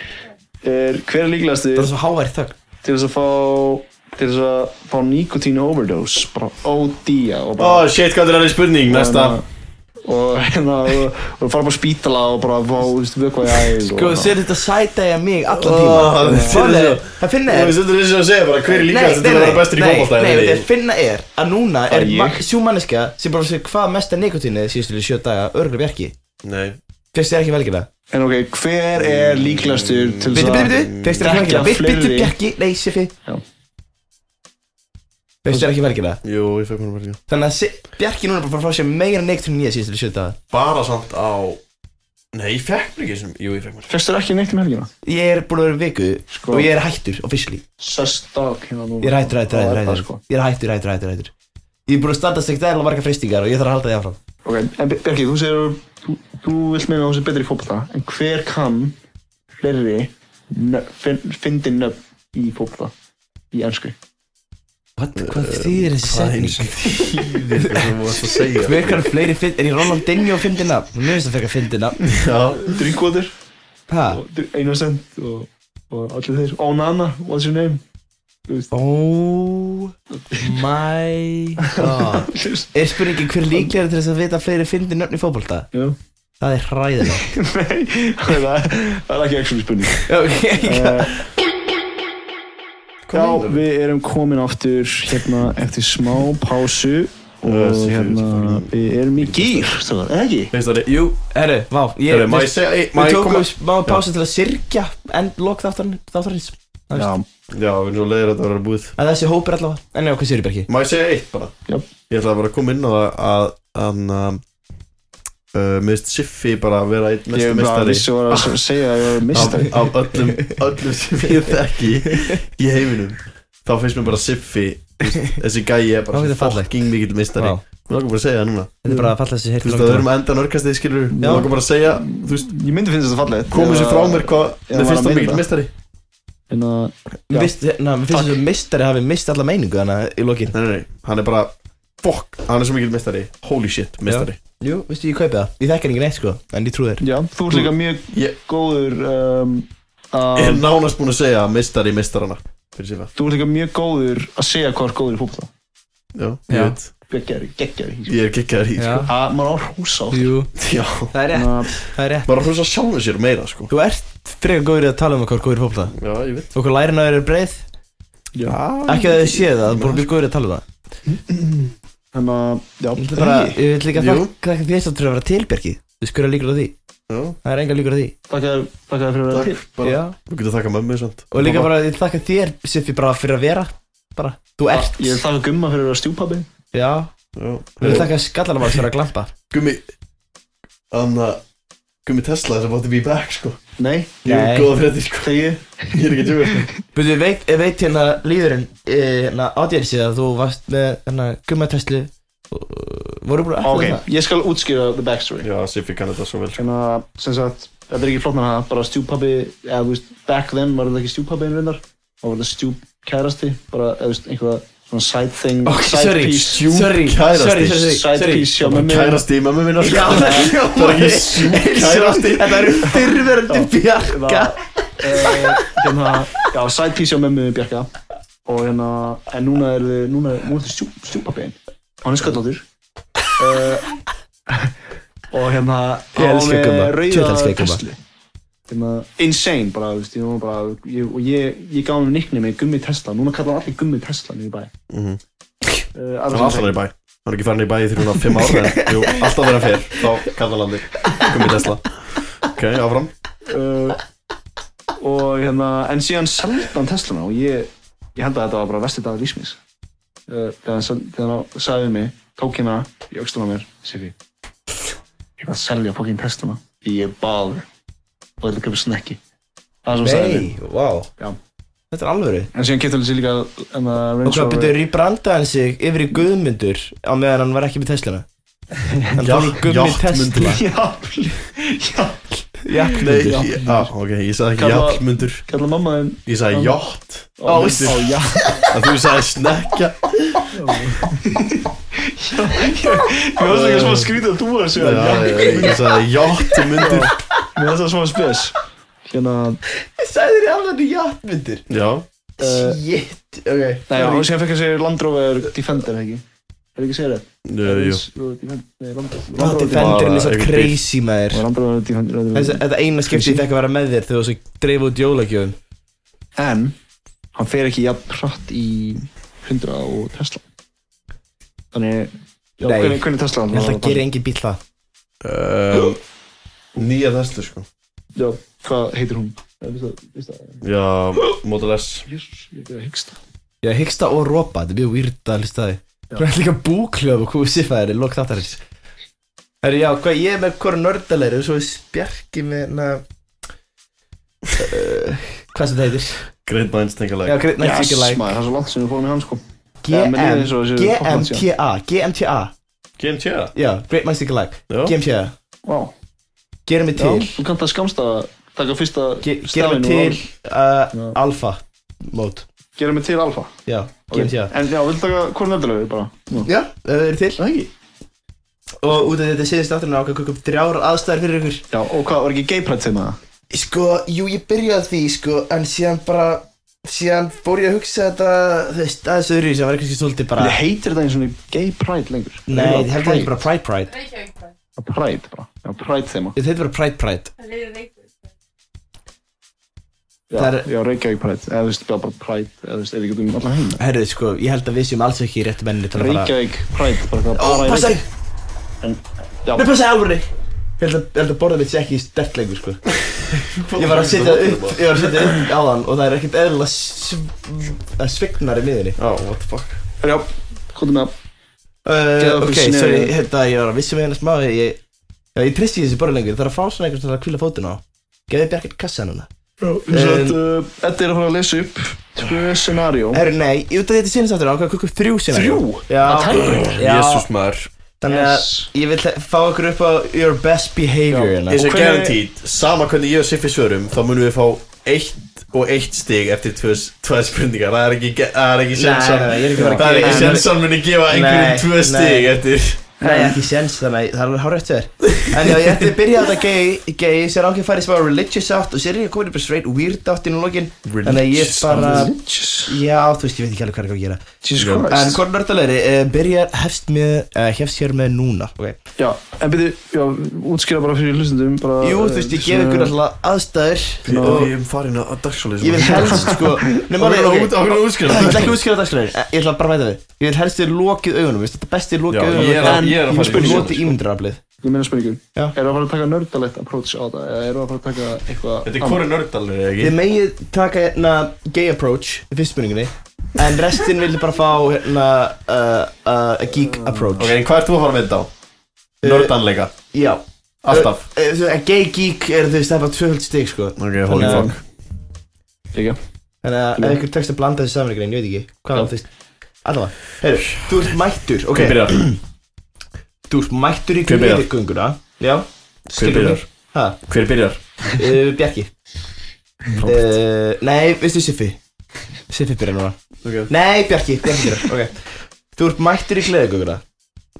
[SPEAKER 4] er Hver er líklegasti
[SPEAKER 3] Það er svo hávær þögn
[SPEAKER 4] til þess að fá til þess að fá nikotín overdose bara ódýja og bara Hérna,
[SPEAKER 5] Oh shit, hvað er það í spurning? Næsta
[SPEAKER 4] og hérna og, og fara upp á spítala og bara vá, þú veist, vökva í æl og
[SPEAKER 3] Sko,
[SPEAKER 4] bara-
[SPEAKER 3] sér þetta sætæja mig alla
[SPEAKER 5] Ó, það
[SPEAKER 3] tíma
[SPEAKER 5] finnur
[SPEAKER 3] Það
[SPEAKER 5] svo.
[SPEAKER 3] er- Það finna
[SPEAKER 5] Þú
[SPEAKER 3] er
[SPEAKER 5] veist, Þetta er eins og að segja bara Hver er líkast til að vera bestur í fólkbólta
[SPEAKER 3] Nei, þetta er finna er að núna er
[SPEAKER 4] ég?
[SPEAKER 3] ma- sú manneska sem bara sé hvað mesta nikotínið síðustu til sjö daga örgulega bjarki
[SPEAKER 5] Nei
[SPEAKER 3] Fyrst þér ekki velgjörða
[SPEAKER 4] en ok, hver er líklegastur til þess
[SPEAKER 3] Bitti, bitti,
[SPEAKER 4] að
[SPEAKER 3] bitti Fyrst þér ekki
[SPEAKER 4] drekka
[SPEAKER 3] velgjörða Bitti, bitti,
[SPEAKER 4] fleiri-
[SPEAKER 3] bjarki Nei, Sifi
[SPEAKER 4] Já.
[SPEAKER 3] Fyrst þér ekki velgjörða
[SPEAKER 5] Jú, ég fekk mér að verka
[SPEAKER 3] Þannig að Si- bjarki núna er bara að fara frá sér meira nikotín nýja síðustu til sjö daga
[SPEAKER 5] Bara samt á Nei, ég fekk mér ekki sem Jú, ég fekk mér
[SPEAKER 4] Fyrst er ekki neitt um helgina?
[SPEAKER 3] Ég er búin að vera í viku
[SPEAKER 4] Sko.
[SPEAKER 3] og ég er hættur officially
[SPEAKER 4] Sest dag hérna nú
[SPEAKER 3] Ég er hættur, hættur,
[SPEAKER 4] Það er
[SPEAKER 3] hættur,
[SPEAKER 4] það,
[SPEAKER 3] hættur
[SPEAKER 4] sko.
[SPEAKER 3] Ég er hættur, hættur, hættur, hættur Ég er búin að standa stegt eðla marga fristingar og ég þarf að halda því áfram
[SPEAKER 4] Ok, en Björki, þú segir þú, þú vilt meina að þú sé betri í fótbolta en hver kann fleiri nö, finn, fyndi nöfn í fótbolta í ennsku?
[SPEAKER 3] What? Eh, Hvað þýðir þessi setning?
[SPEAKER 5] Þýðir hvað þú varst að segja
[SPEAKER 3] Hver kannar fleiri fynd, er ég Ronaldinho að fyndi nafn? Mér finnst það frekar að fyndi nafn
[SPEAKER 5] Já
[SPEAKER 4] Drinkwater,
[SPEAKER 3] Ha?
[SPEAKER 4] Innocent og, og allir þeir Onana, what's your name?
[SPEAKER 3] Oh my god Er spurningin hver líklega til þess að vita fleiri fyndi nöfn í fótbolta?
[SPEAKER 4] Já.
[SPEAKER 3] Það er hræðilegt
[SPEAKER 4] Nei, það er það er ekki ekki spurning Eh,
[SPEAKER 3] Ok,
[SPEAKER 4] Já, við erum komin aftur hérna eftir smá pásu
[SPEAKER 5] Það er
[SPEAKER 4] og
[SPEAKER 5] síðan
[SPEAKER 4] hérna
[SPEAKER 5] fórum.
[SPEAKER 4] við erum í gýr, strákar, eða ekki?
[SPEAKER 5] Veist það, jú
[SPEAKER 3] herru, vá ég,
[SPEAKER 5] Heyrðu, Má ég segja Má
[SPEAKER 3] Við
[SPEAKER 5] ég koma
[SPEAKER 3] tókum smá pásu til að sirkja en lok þáttarins Það
[SPEAKER 4] Já,
[SPEAKER 5] Já, við erum svo leiðir að þetta verður búið
[SPEAKER 3] að þessi hópur allavega en já, hvað sér ég bergi?
[SPEAKER 5] Má ég segja eitt bara?
[SPEAKER 4] Já.
[SPEAKER 5] Ég ætla bara að koma inn á það að Þann að Uh, Mist Siffi bara að vera eitt mestu
[SPEAKER 4] ég bara
[SPEAKER 5] mestari
[SPEAKER 4] vissi að vera að segja að ég var mistari
[SPEAKER 5] af, af öllum, öllum sem ég þekki í heiminum þá finnst mér bara Siffi þú veist, þessi gæi er bara
[SPEAKER 3] Já,
[SPEAKER 5] svo
[SPEAKER 3] þetta er fallegt.
[SPEAKER 5] fucking mikill mistari
[SPEAKER 3] Vá.
[SPEAKER 5] við langar bara að segja það núna
[SPEAKER 3] Þetta er bara að falla þessi
[SPEAKER 5] þú
[SPEAKER 3] heyrti
[SPEAKER 5] veist að við erum að enda nörgast þig skilur við
[SPEAKER 3] Já.
[SPEAKER 5] langar bara að segja þú veist
[SPEAKER 4] Ég myndi finnst þetta fallið
[SPEAKER 5] komið sér frá mér hvað
[SPEAKER 4] Já,
[SPEAKER 5] mér
[SPEAKER 4] var að
[SPEAKER 5] finnst það
[SPEAKER 4] meina
[SPEAKER 5] mikill
[SPEAKER 4] það.
[SPEAKER 5] mistari
[SPEAKER 4] En að Já.
[SPEAKER 3] Vist, na, Mér finnst þessu mistari hafi mist alla meiningu þannig að í lokin
[SPEAKER 5] nei nei nei hann er bara fuck hann er svo mikill mistari holy shit mistari
[SPEAKER 3] Jú, veistu, ég kaupi það Ég þekkar engin eitt sko, en ég trú þér
[SPEAKER 4] Já, þú ert líka mjög
[SPEAKER 5] Ég-
[SPEAKER 4] góður um,
[SPEAKER 5] ég er
[SPEAKER 4] að,
[SPEAKER 5] nánast búinn að segja mistari mistarana fyrir Siffa
[SPEAKER 4] Þú ert líka mjög góður að segja hvað er góður í fólkvölda
[SPEAKER 5] já
[SPEAKER 3] Já.
[SPEAKER 5] ég veit
[SPEAKER 4] Geggjari, geggjari
[SPEAKER 5] ég er kikkaður í sko
[SPEAKER 4] Að maður á Hérna, húsa á því.
[SPEAKER 3] Jú,
[SPEAKER 5] já
[SPEAKER 3] það er rétt,
[SPEAKER 4] Þannig að-
[SPEAKER 3] það er rétt
[SPEAKER 5] bara hrósa sjálfum sér meira sko
[SPEAKER 3] Þú ert frekar góður í að tala um hvað góður í fólkvölda
[SPEAKER 5] Já, ég veit
[SPEAKER 3] og hvað lærin á þér er breið
[SPEAKER 4] Já.
[SPEAKER 3] ekki að þið séu það, það er bara mjög góður í að tala um það
[SPEAKER 4] Þannig að, hérna, já,
[SPEAKER 3] ég vil bara,
[SPEAKER 4] hey,
[SPEAKER 3] ég vil líka
[SPEAKER 5] Jú.
[SPEAKER 3] þakka þakka fyrir þess að vera tilbergi við skurðum líkur á því,
[SPEAKER 5] Já,
[SPEAKER 3] það er enga líkur á því
[SPEAKER 4] Takk að þér fyrir að vera til
[SPEAKER 5] takk bara
[SPEAKER 3] Já.
[SPEAKER 5] Þú getur þakkað mömmu samt
[SPEAKER 3] og líka bara, ég vil þakka þér Siffi bara fyrir að vera bara, þú ert
[SPEAKER 4] Ég vil þakka Gumma fyrir að vera stjúpabbi
[SPEAKER 3] já,
[SPEAKER 5] Já
[SPEAKER 3] ég vil þakka skallarmann fyrir að glampa
[SPEAKER 5] Gummi Anna Gummi Tesla sem átti be back sko
[SPEAKER 4] Nei,
[SPEAKER 5] Ég
[SPEAKER 3] Nei.
[SPEAKER 5] er góða fréttir sko
[SPEAKER 4] þegar ég
[SPEAKER 5] Ég er ekki að tjóka sko
[SPEAKER 3] Búið, ég veit, ég veit hérna líðurinn hérna ádjensið að þú varst með hérna gummatestlu og og voru búin að
[SPEAKER 4] Ok,
[SPEAKER 3] ætla
[SPEAKER 4] ég skal útskýra the backstory
[SPEAKER 5] Já, Siffi kann þetta svo vel sko
[SPEAKER 4] Þannig að, sem sagt, þetta er ekki flott með það Bara stjúpabbi, eða þú veist, back then var þetta ekki stjúpabbi en reyndar Og var þetta stjúpkærasti Bara, eða þú veist, einhverja svona side thing
[SPEAKER 3] Ok,
[SPEAKER 4] side
[SPEAKER 3] sorry,
[SPEAKER 4] piece,
[SPEAKER 5] stjú-
[SPEAKER 3] sorry,
[SPEAKER 5] kærasti,
[SPEAKER 3] sorry, sorry,
[SPEAKER 4] Side
[SPEAKER 3] sorry
[SPEAKER 4] piece hjá
[SPEAKER 5] Bara
[SPEAKER 4] mömmu
[SPEAKER 5] Kærasti í mömmu minna
[SPEAKER 3] Já,
[SPEAKER 5] sko
[SPEAKER 3] það
[SPEAKER 5] Það er ekki sjú kærasti
[SPEAKER 3] Þetta eru fyrrverandi bjarga
[SPEAKER 4] var, eh, hérna, Já, side piece hjá mömmu Bjarka Og hérna, en núna er þið, núna er, núna er þið stjú, stjúpabbiðin Og hann er sköldlóttur uh, Og hérna,
[SPEAKER 3] Ég elska
[SPEAKER 4] með
[SPEAKER 3] Gumma,
[SPEAKER 4] rauða
[SPEAKER 3] tjótt elska ég Gumma.
[SPEAKER 4] Teslu. Hérna, insane bara, þú veist, ég var bara, ég, og ég, ég gaf hann nickname með Gummi Tesla, núna kallar allir Gummi Tesla niður í bæ.
[SPEAKER 5] Mhm.
[SPEAKER 4] Uh,
[SPEAKER 5] Það var alltaf hann í bæ Hann er ekki farin í bæ í þrjúna fimm ára en Jú, alltaf þegar hann fer Þá kallar hann þig Gummi Tesla Ok, áfram
[SPEAKER 4] uh, og hérna, en síðan seldi hann Teslana og ég, ég held að þetta var bara vestið dagar lífsmins uh, þegar hann sel- þegar hann sagði við mig, tók hérna í aukstuna mér, Sifi ég var að selja fokkin Teslana ég baður og þetta köpa snekki það er sem hann sagði við
[SPEAKER 3] Nei, vá
[SPEAKER 4] Já.
[SPEAKER 3] Þetta er alvöru
[SPEAKER 4] en síðan kefti hann sér líka en að
[SPEAKER 3] Og
[SPEAKER 4] Range
[SPEAKER 3] hvað
[SPEAKER 4] Rover
[SPEAKER 3] byrjuður í brandaðan sig yfir í guðmundur á meðan hann var ekki með Teslana Hann fór í gummi
[SPEAKER 5] Játmundur.
[SPEAKER 3] Tesla
[SPEAKER 4] jafnli jafnli
[SPEAKER 5] Nei,
[SPEAKER 3] Játmundur
[SPEAKER 5] ég- á, ok, ég sagði ekki
[SPEAKER 4] Kalla-
[SPEAKER 5] játmundur
[SPEAKER 4] kallar mamma þinn
[SPEAKER 5] Ég sagði játt
[SPEAKER 4] á
[SPEAKER 5] Mundur.
[SPEAKER 4] á já
[SPEAKER 5] En þú sagði snekja
[SPEAKER 4] mér var það ekki smá skrítið að þú var að segja
[SPEAKER 5] Já,
[SPEAKER 4] jafnli
[SPEAKER 5] ég ég sagði játmundur
[SPEAKER 4] mér var það smá spes hérna
[SPEAKER 3] Ég sagði þér alveg játmundur
[SPEAKER 5] Já
[SPEAKER 4] uh,
[SPEAKER 3] Shit, ok
[SPEAKER 4] Nei, og síðan fekk hann sér Land Rover Defender, ekki? Er ekki að segja þetta?
[SPEAKER 5] Jú, jú
[SPEAKER 4] Nei, Land Rover
[SPEAKER 3] Ná,
[SPEAKER 4] Land Rover
[SPEAKER 3] Defenderinn er svo
[SPEAKER 5] einhver bíl.
[SPEAKER 3] crazy maður
[SPEAKER 4] Land Rover Defender Land
[SPEAKER 3] Þessi,
[SPEAKER 4] Rover.
[SPEAKER 3] þetta eina Mm. skipti ég fekk að vera með þér þegar þú svo dreif út jólagjöfum
[SPEAKER 4] En, hann fer ekki jafn hratt í 100 og Tesla Þannig, já,
[SPEAKER 3] Nei.
[SPEAKER 4] hvernig, hvernig Tesla
[SPEAKER 3] Ég held að gera engin bíl það
[SPEAKER 5] Um, Nýja þessu sko
[SPEAKER 4] Já, hvað heitir hún? Nei, veist það- veist það?
[SPEAKER 5] Já, Model S
[SPEAKER 4] Jésús, ég er að hyggsta
[SPEAKER 3] Já, hyggsta og ropa, þetta er mjög weird að hlusta á því Þú er líka búklöf og hvað siffa þér, lók þáttarins Herri, já, hvað ég er með hvora nördalegri og svo er spjarki með na, uh, Hvað sem það heitir
[SPEAKER 5] Great Minds Think
[SPEAKER 3] Já,
[SPEAKER 5] Alike
[SPEAKER 3] great,
[SPEAKER 4] Yes,
[SPEAKER 3] yes, like.
[SPEAKER 4] maður, það er svo langt sem við fórum í hann, sko Já, mér líður eins og
[SPEAKER 3] GM,
[SPEAKER 4] þessi poplands, já.
[SPEAKER 3] GMTA, GMTA
[SPEAKER 5] GMT Já,
[SPEAKER 3] Já, Great Minds Think Alike, GMTA
[SPEAKER 4] Vá,
[SPEAKER 3] Gerum við
[SPEAKER 4] já,
[SPEAKER 3] til
[SPEAKER 4] þú kannt að skamsta Taka fyrsta
[SPEAKER 3] Ge- Gerum
[SPEAKER 4] stafinn úr
[SPEAKER 3] við til
[SPEAKER 4] orðinu.
[SPEAKER 3] uh,
[SPEAKER 4] Já.
[SPEAKER 3] Alfa Mót,
[SPEAKER 4] Gerum við til alfa
[SPEAKER 3] já,
[SPEAKER 4] Ok,
[SPEAKER 3] GMTA
[SPEAKER 4] En já, viltu taka hvort nördalegu bara? Nú.
[SPEAKER 3] Já, ef þið eru til
[SPEAKER 4] Það ekki?
[SPEAKER 3] Og út af þetta síðast átturinn ákveð kukkum drjára aðstæðar fyrir ykkur
[SPEAKER 4] Já, og hvað, var ekki hérna? gay pride þeim að það?
[SPEAKER 3] Sko, jú, ég byrjaði á því, sko En síðan bara, síðan fór ég að hugsa þetta Þú veist, aðeins öðru sem var kannski svolítið bara
[SPEAKER 4] Ég heitir þetta eins og niður gay pride lengur
[SPEAKER 3] Nei, þetta heldur
[SPEAKER 4] Pride.
[SPEAKER 3] ekki bara Pride Pride
[SPEAKER 2] Reykjavík Pride.
[SPEAKER 4] Já, Pride bara, já, pride þeim að
[SPEAKER 3] Þetta heitir bara Pride Pride
[SPEAKER 2] Það leiðir Reykjavík Pride.
[SPEAKER 4] Já,
[SPEAKER 3] Það er-
[SPEAKER 4] já, Reykjavík pride, eða þú veist, já, bara pride, eða þú veist, er ekki út um allan heim
[SPEAKER 3] Herðu, sko, ég held að við séum alls ekki í réttu menni til að fara
[SPEAKER 4] Reykjavík pride, bara það
[SPEAKER 3] Ó,
[SPEAKER 4] bara í
[SPEAKER 3] passaði,
[SPEAKER 4] Reykjavík En, já,
[SPEAKER 3] nei, passaði alveg Ég held að, ég held að borða mitt sé ekki stert lengur, sko Ég var að setja upp, ég var að setja upp áðan Og það er ekkert eðlilega sv- svignar í miðinni
[SPEAKER 5] Já, what the fuck
[SPEAKER 4] já, hvað er með það?
[SPEAKER 3] Uh,
[SPEAKER 4] Geða okkur
[SPEAKER 3] ok,
[SPEAKER 4] sneru.
[SPEAKER 3] sorry, hérna, ég var að vissi með hennar smá Ég, já, ég tristi þessi bara lengur, það er að fá svona einhvern til að kvíla fótinn á Geði bjargir kassan hana
[SPEAKER 4] Sem sagt, uh, Eddi er að fara að lesa upp tvö scenario
[SPEAKER 3] Herru, nei, ég veit að þetta sinns aftur á, hvað kukkum þrjú sinna
[SPEAKER 4] Þrjú? Það er
[SPEAKER 3] Já,
[SPEAKER 4] tiebreaker.
[SPEAKER 3] já
[SPEAKER 5] Jesus maður
[SPEAKER 3] þannig að
[SPEAKER 4] Yes.
[SPEAKER 3] ég vil fá okkur upp á your best behavior
[SPEAKER 4] Já.
[SPEAKER 3] hérna
[SPEAKER 5] Ég sé
[SPEAKER 4] Og hvernig-
[SPEAKER 5] guaranteed Sama hvernig ég og Siffi svörum Þá munum við fá eitt og eitt stig eftir tvö, tvö spurningar Það er ekki, það er ekki
[SPEAKER 3] Nei, nei,
[SPEAKER 5] sensan
[SPEAKER 3] nei, ég er ekki að fara að
[SPEAKER 5] Það er
[SPEAKER 3] gefa-
[SPEAKER 5] ekki sensan muni gefa
[SPEAKER 3] Nei,
[SPEAKER 5] einhverjum tvö
[SPEAKER 3] nei.
[SPEAKER 5] stig eftir
[SPEAKER 3] Nei, ekki séns, þannig að það er hár rétt þér En já, ég ætti að byrja þetta gay, gay sér ákveð færi smá religious átt og sér er ég komin upp í straight weird átt í núlokin Þannig að ég
[SPEAKER 5] Religious
[SPEAKER 3] bara,
[SPEAKER 4] Religious
[SPEAKER 3] já, þú veist, ég veit ekki alveg hvað er að gera
[SPEAKER 4] Jesus Christ
[SPEAKER 5] Já.
[SPEAKER 3] Um, En hvort nördalegri, uh, byrjar hefst með, uh, hefst hér með núna okay.
[SPEAKER 4] Já, en byrju, já, útskýra bara fyrir hlustendum bara,
[SPEAKER 3] Jú, þú veist, ég gef ykkur alltaf aðstæður
[SPEAKER 5] Við
[SPEAKER 3] og
[SPEAKER 5] erum farin að dagsfáli
[SPEAKER 3] ég vil helst, sko Nei, maður,
[SPEAKER 5] Okkur
[SPEAKER 3] ok,
[SPEAKER 5] er
[SPEAKER 3] ég
[SPEAKER 5] útskjöld
[SPEAKER 3] ætla ekki að útskýra dagskræðin, ég ætla bara að bæta við Ég vil helst þér lokið augunum, veist, þetta besti
[SPEAKER 5] Já,
[SPEAKER 3] lokið
[SPEAKER 5] ég er að-
[SPEAKER 3] augunum
[SPEAKER 5] ég er að
[SPEAKER 3] En
[SPEAKER 5] fara í
[SPEAKER 3] þú
[SPEAKER 5] útskýra,
[SPEAKER 3] notið ímyndaraflið
[SPEAKER 4] Ég meina spurningun
[SPEAKER 3] Já.
[SPEAKER 4] Eru að fara að taka nördalegt approach á það eða eru að fara að taka eitthvað
[SPEAKER 5] Þetta er hvori nördalur, eða
[SPEAKER 3] Þið
[SPEAKER 5] ekki?
[SPEAKER 3] megið taka hérna gay approach í fyrst spurningunni En restin vildi bara fá hérna uh, uh, geek approach
[SPEAKER 5] Ok, en hvað ert þú að fara með þetta á?
[SPEAKER 3] Eh,
[SPEAKER 5] Nördanleika,
[SPEAKER 3] Já
[SPEAKER 5] alltaf
[SPEAKER 3] Eh, þú veist, Gay geek er þú veist það er bara tvöfald stig sko
[SPEAKER 5] Ok, holy
[SPEAKER 3] Þannig að-
[SPEAKER 5] fuck
[SPEAKER 4] Líka
[SPEAKER 3] Þannig að ef ykkur tekst að blanda þessu saman ykkur ég veit ekki Hvað var þú veist Allavega Heyrðu, þú ert mættur Ok,
[SPEAKER 5] Hver byrjar?
[SPEAKER 3] þú ert mættur í
[SPEAKER 5] Hver byrjar?
[SPEAKER 3] gunguna Já
[SPEAKER 5] Hver byrjar?
[SPEAKER 3] Hæ?
[SPEAKER 5] Hver byrjar?
[SPEAKER 3] Uh, Bjarki uh, Nei, veistu Siffi Siffi byrjar núna
[SPEAKER 5] Ok.
[SPEAKER 3] Nei, Bjarki, Bjarki byrjar Ok Þú ert mættur í gleðugögguna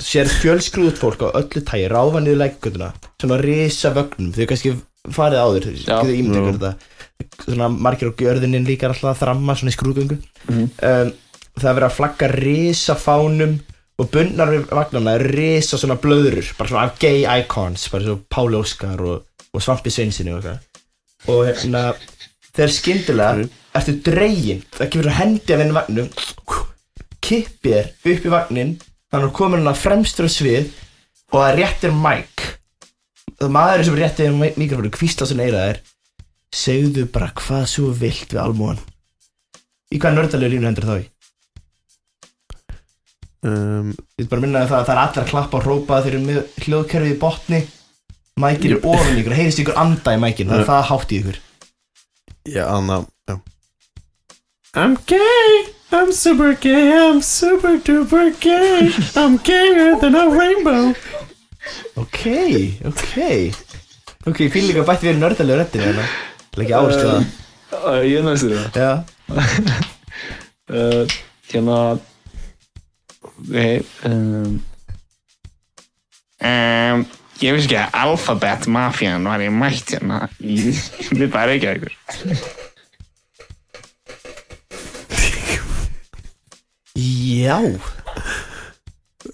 [SPEAKER 3] Sér fjölskrúðt fólk á öllu tægi Ráfa niður lækugönduna Svona risa vögnum Þau kannski farið áður Þau
[SPEAKER 4] Já.
[SPEAKER 3] getur ímyndið ykkur þetta Svona margir á gjörðunin líka er alltaf að þramma Svona í skrúðgöngu
[SPEAKER 4] Mhm.
[SPEAKER 3] um, Það er verið að flagga risa fánum Og bundnar við vagnarna er risa svona blöðurur Bara svona af gay icons Bara svona Páli Óskar og, og Svampi Sveinsinni og eitthvað Og hérna Þegar skyndilega ertu dregin Það kemur að hendi af einu vagnum kippir upp í vagnin þannig að komur hann að fremstur á svið og það réttir mæk það maður sem réttir mikrofónu kvísla sem eira þær segðu bara hvað svo vilt við almúan í hvað nördalegu línu hendur þá í
[SPEAKER 5] Um,
[SPEAKER 3] ég vil bara minna það að það er allir að klappa og rópa þeir eru með hljóðkerfið í botni mækin er ofan í ykkur, heyrist ykkur anda í mækin það er það hátt í ykkur
[SPEAKER 5] Já, Anna já. I'm gay I'm super gay I'm super duper gay I'm gayer than a rainbow
[SPEAKER 3] ok, ok ok, ég fíl líka bætt við nördalegu röndinu hérna leggja áherslu á það
[SPEAKER 4] Uh, Ég er næstur það
[SPEAKER 3] já,
[SPEAKER 4] uh, Hérna Ok um,
[SPEAKER 2] Um, ég vissi ekki að Alphabet Mafian var ég mætt hérna í við bara ekki að ykkur
[SPEAKER 3] Já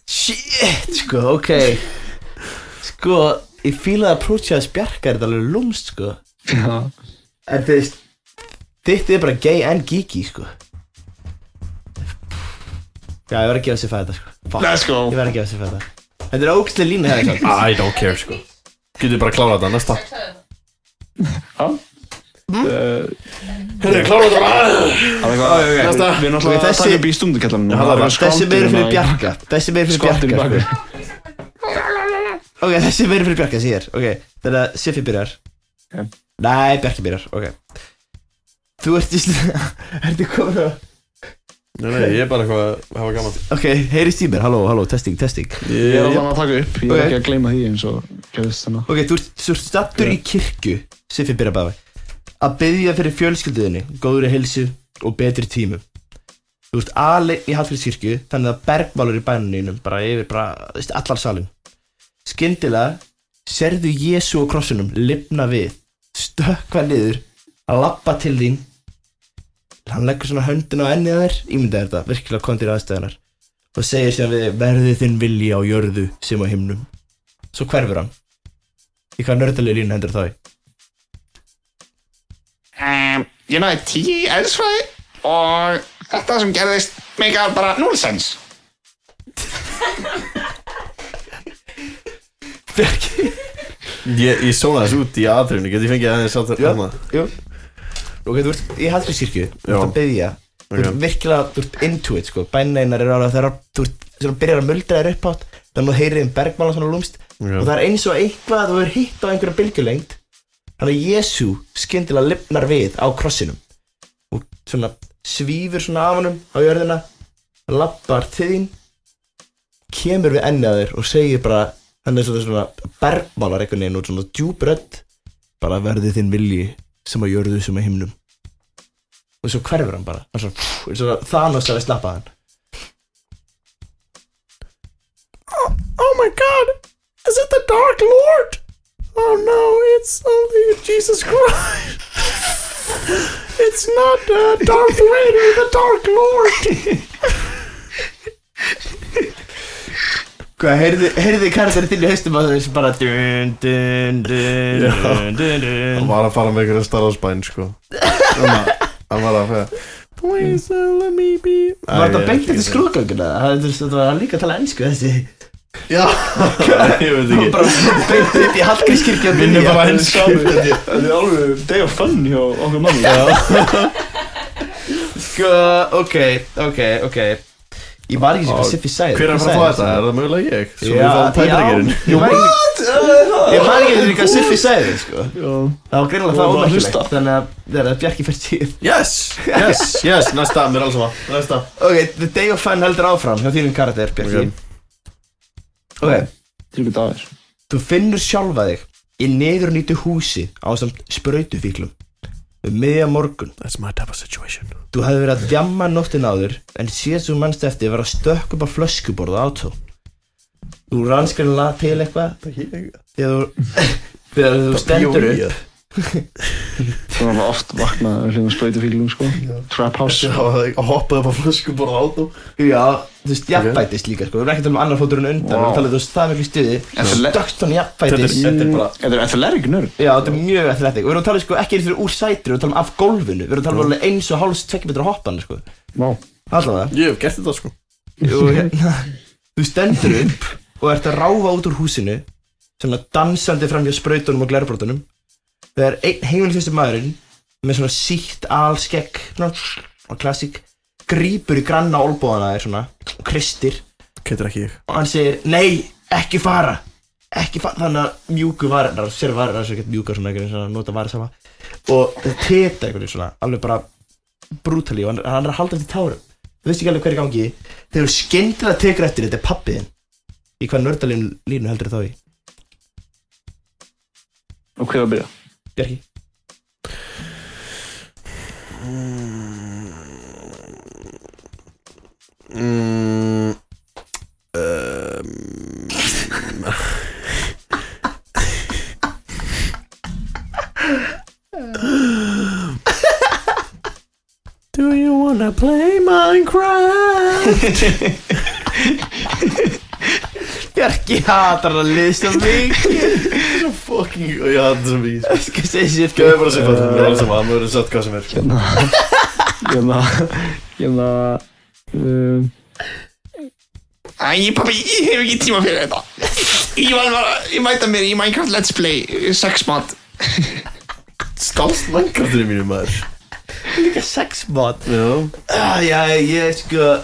[SPEAKER 3] Shit, sko, ok Sko, ég fíla að approacha þess bjarga er þetta alveg lúmst, sko
[SPEAKER 4] Já
[SPEAKER 3] En þú veist Þitt er bara gay and geeky, sko Já, ég var að gefa sér fæða þetta, sko Fuck,
[SPEAKER 2] Let's go
[SPEAKER 3] Ég var að gefa sér fæða þetta Þetta er ógstlega lína það, sko
[SPEAKER 5] I don't care sko Getur bara að klára þetta næsta
[SPEAKER 4] Uh,
[SPEAKER 5] Hérna, klára þetta bara Næsta
[SPEAKER 4] Við erum alltaf að
[SPEAKER 3] þessi-
[SPEAKER 4] taka upp í stundukallanum
[SPEAKER 5] það var-
[SPEAKER 3] sko. Þessi meður fyrir bjarga Þessi meður fyrir
[SPEAKER 4] Skottur hérna í
[SPEAKER 3] bjarga,
[SPEAKER 4] baku
[SPEAKER 3] sko Ok, þessi verður fyrir Bjarka, þessi hér Ok, þannig að Siffi byrjar
[SPEAKER 4] Ok.
[SPEAKER 3] Nei, Bjarki byrjar, ok Þú ert í slið Ertu komin að
[SPEAKER 5] Nei, nei, ég er bara eitthvað að hafa gaman
[SPEAKER 3] Ok, heyrist í mér, halló, halló, testing, testing
[SPEAKER 4] Ég er
[SPEAKER 5] Ég
[SPEAKER 4] alltaf að taka upp Ég er
[SPEAKER 3] Ok.
[SPEAKER 4] ekki að gleyma því eins og hérna. gerðist þannig
[SPEAKER 3] Ok, þú ert, þú ert stattur í kirkju Siffi byrjar bara Að byggja fyrir fjölskylduðinni Góðri helsu og betri tímum Þú ert alinn í Hallfjörðskirkju Þannig að bergmálur í bæninum Bara yfir, bara, þú veist, allar salin Skyndilega Serðu Jésu á krossunum, lifna við Stökkva niður Að lappa til þín Hann leggur svona höndin á ennið þær Ímynda þér þetta, virkilega kom þér aðstæðanar Og segir sér við verði þinn vilji á jörðu Sem á himnum Svo hverfur hann Í hvað nördalegi línu hendur þá í?
[SPEAKER 2] um, Ég náði tíu í eðsfræði og þetta sem gerðist meikar bara núlsens
[SPEAKER 3] Bjarki
[SPEAKER 5] Ég, ég sóna þessu út í aðrunni Getur ég fengið aðeins að
[SPEAKER 3] Já.
[SPEAKER 5] þarna
[SPEAKER 3] Jú Ok, þú ert í Hallgrímskirkju Þú ert
[SPEAKER 5] Já.
[SPEAKER 3] að byggja Þú ert
[SPEAKER 5] Ok.
[SPEAKER 3] virkilega, þú ert into it sko Bæneinar eru alveg þegar þú ert Svona byrjar að muldra þér upp átt Þannig að þú heyrið um bergmála svona lúmst
[SPEAKER 5] Já.
[SPEAKER 3] Og það er eins og eitthvað að þú er hitt á einhverja bylgjulengd Þannig að Jésu skyndilega lifnar við á krossinum Og svona svífur svona af honum á jörðina Lappar til þín Kemur við ennið að þér og segir bara Hann er svona, svona bergmálar einhvern veginn og svona djúbrödd Bara verði þinn vilji sem að jörðu sem að himnum Og svo hverfur hann bara Hann svona, pff, eins og Thanos hefði snappað hann
[SPEAKER 5] Oh my god! Is it the Dark Lord? Oh no, it's only Jesus Christ! it's not uh, Darth Vader, the Dark Lord!
[SPEAKER 3] Hvað, heyrðu heyrðu þið karakterið þinn í haustum að þessu bara dun, dun, dun, dun,
[SPEAKER 5] Hann
[SPEAKER 3] dun, dun
[SPEAKER 5] var að fara með einhverja starfsbæn, sko. Hann var að fara Please uh, let me be
[SPEAKER 3] Var þetta beint eftir skrúðgönguna? Það þú veist, þetta var hann líka að tala ennsku þessi
[SPEAKER 5] Já, ég veit ekki
[SPEAKER 3] Bara beint upp í Hallgrímskirkja og
[SPEAKER 5] Minni
[SPEAKER 3] byrja.
[SPEAKER 5] bara sko. ensku
[SPEAKER 4] Þetta er alveg day of fun hjá okkur manni
[SPEAKER 3] Sko, ok, ok, ok Ég var ekki sem Pacific Side
[SPEAKER 5] Hver er að fara að fá þetta? Er það mögulega ég? Svo við fáum tætreikirinn
[SPEAKER 3] What? Ég var ekki sem Pacific Side, sko Það
[SPEAKER 4] Þú var
[SPEAKER 3] var greinlega það
[SPEAKER 4] bara að
[SPEAKER 3] ómerkilegt
[SPEAKER 4] hlusta.
[SPEAKER 3] Þannig að það er að Bjarki fyrir tíð
[SPEAKER 5] Yes, yes, yes, næsta, mér er alls sama Næsta
[SPEAKER 3] Ok, The Day of Fun heldur áfram hjá þínum karakter, Bjarki Ok,
[SPEAKER 4] Tryggvi dagar
[SPEAKER 3] þú finnur sjálfa þig í niðurnýtu húsi á samt sprautufíklum um miðja morgun
[SPEAKER 5] That's my type of situation
[SPEAKER 3] Þú hefði verið að djamma nóttin áður en síðast þú mannst eftir var að stökk upp á flöskuborða átó Þú rannskanlega til eitthvað þegar þú, þegar þú stendur upp
[SPEAKER 4] Það var oft vaknað hljóðum spröytufílum sko Trap house
[SPEAKER 5] Að hoppa upp á flösku bara á þú
[SPEAKER 3] Já, þú veist, jafnfætist líka sko Við erum ekki að tala um annar fótur en undan
[SPEAKER 4] Vá.
[SPEAKER 3] Við talaðum, þú veist, það miklu stuði
[SPEAKER 2] En það le-
[SPEAKER 3] Stökt hann jafnfætist
[SPEAKER 5] Þetta er bara
[SPEAKER 4] Mm. Þetta er athletic nörd
[SPEAKER 3] Já, þetta er mjög athletic Og við erum að tala sko ekki fyrir úr sætri, við erum að tala um af gólfinu Við erum að tala um alveg eins og háls tvekki betra hoppan sko.
[SPEAKER 4] Vá
[SPEAKER 3] Allavega
[SPEAKER 5] Ég hef gert þetta sko
[SPEAKER 3] Og hérna, þú stendur upp og ert að ráfa út úr húsinu Svona dansandi fram hjá sprautunum og glerbrotunum Þegar einn heimilisvistu maðurinn Með svona sítt alskegg Svona og klassík Grípur í granna olbóðana þér svona Og kristir
[SPEAKER 5] Getur ekki ég
[SPEAKER 3] og hann segir nei, ekki fara ekki fara, þannig að mjúku varirnar sér varirnar sem getur mjúka svona einhvern veginn svona nota varir sama og það teta einhvern veginn svona alveg bara brútali og hann, hann er að halda eftir tárum þú veist ekki alveg hver er í gangi þegar þú skyndilega tekur eftir þetta er pappiðin í hvað nördalínu línu heldur þá í
[SPEAKER 4] Og hver að byrja?
[SPEAKER 3] Bjarki
[SPEAKER 5] mm, Do you wanna play Minecraft?
[SPEAKER 3] Bjarki hatar að liðst á mig
[SPEAKER 5] Fucking, já, það er svo mikið
[SPEAKER 3] Skal segja sér
[SPEAKER 5] Gjöðu bara sér fyrir, mér er alls saman, mér er satt hvað sem er
[SPEAKER 4] Hérna Hérna Hérna um,
[SPEAKER 2] Æ, pappi, ég hef ekki tíma fyrir þetta Ég var bara, ég mæta mér í Minecraft Let's Play Sexmod
[SPEAKER 5] Stálst Minecraftinu mínu maður
[SPEAKER 3] Líka sex mod
[SPEAKER 5] Já
[SPEAKER 3] Ah, já, ég sko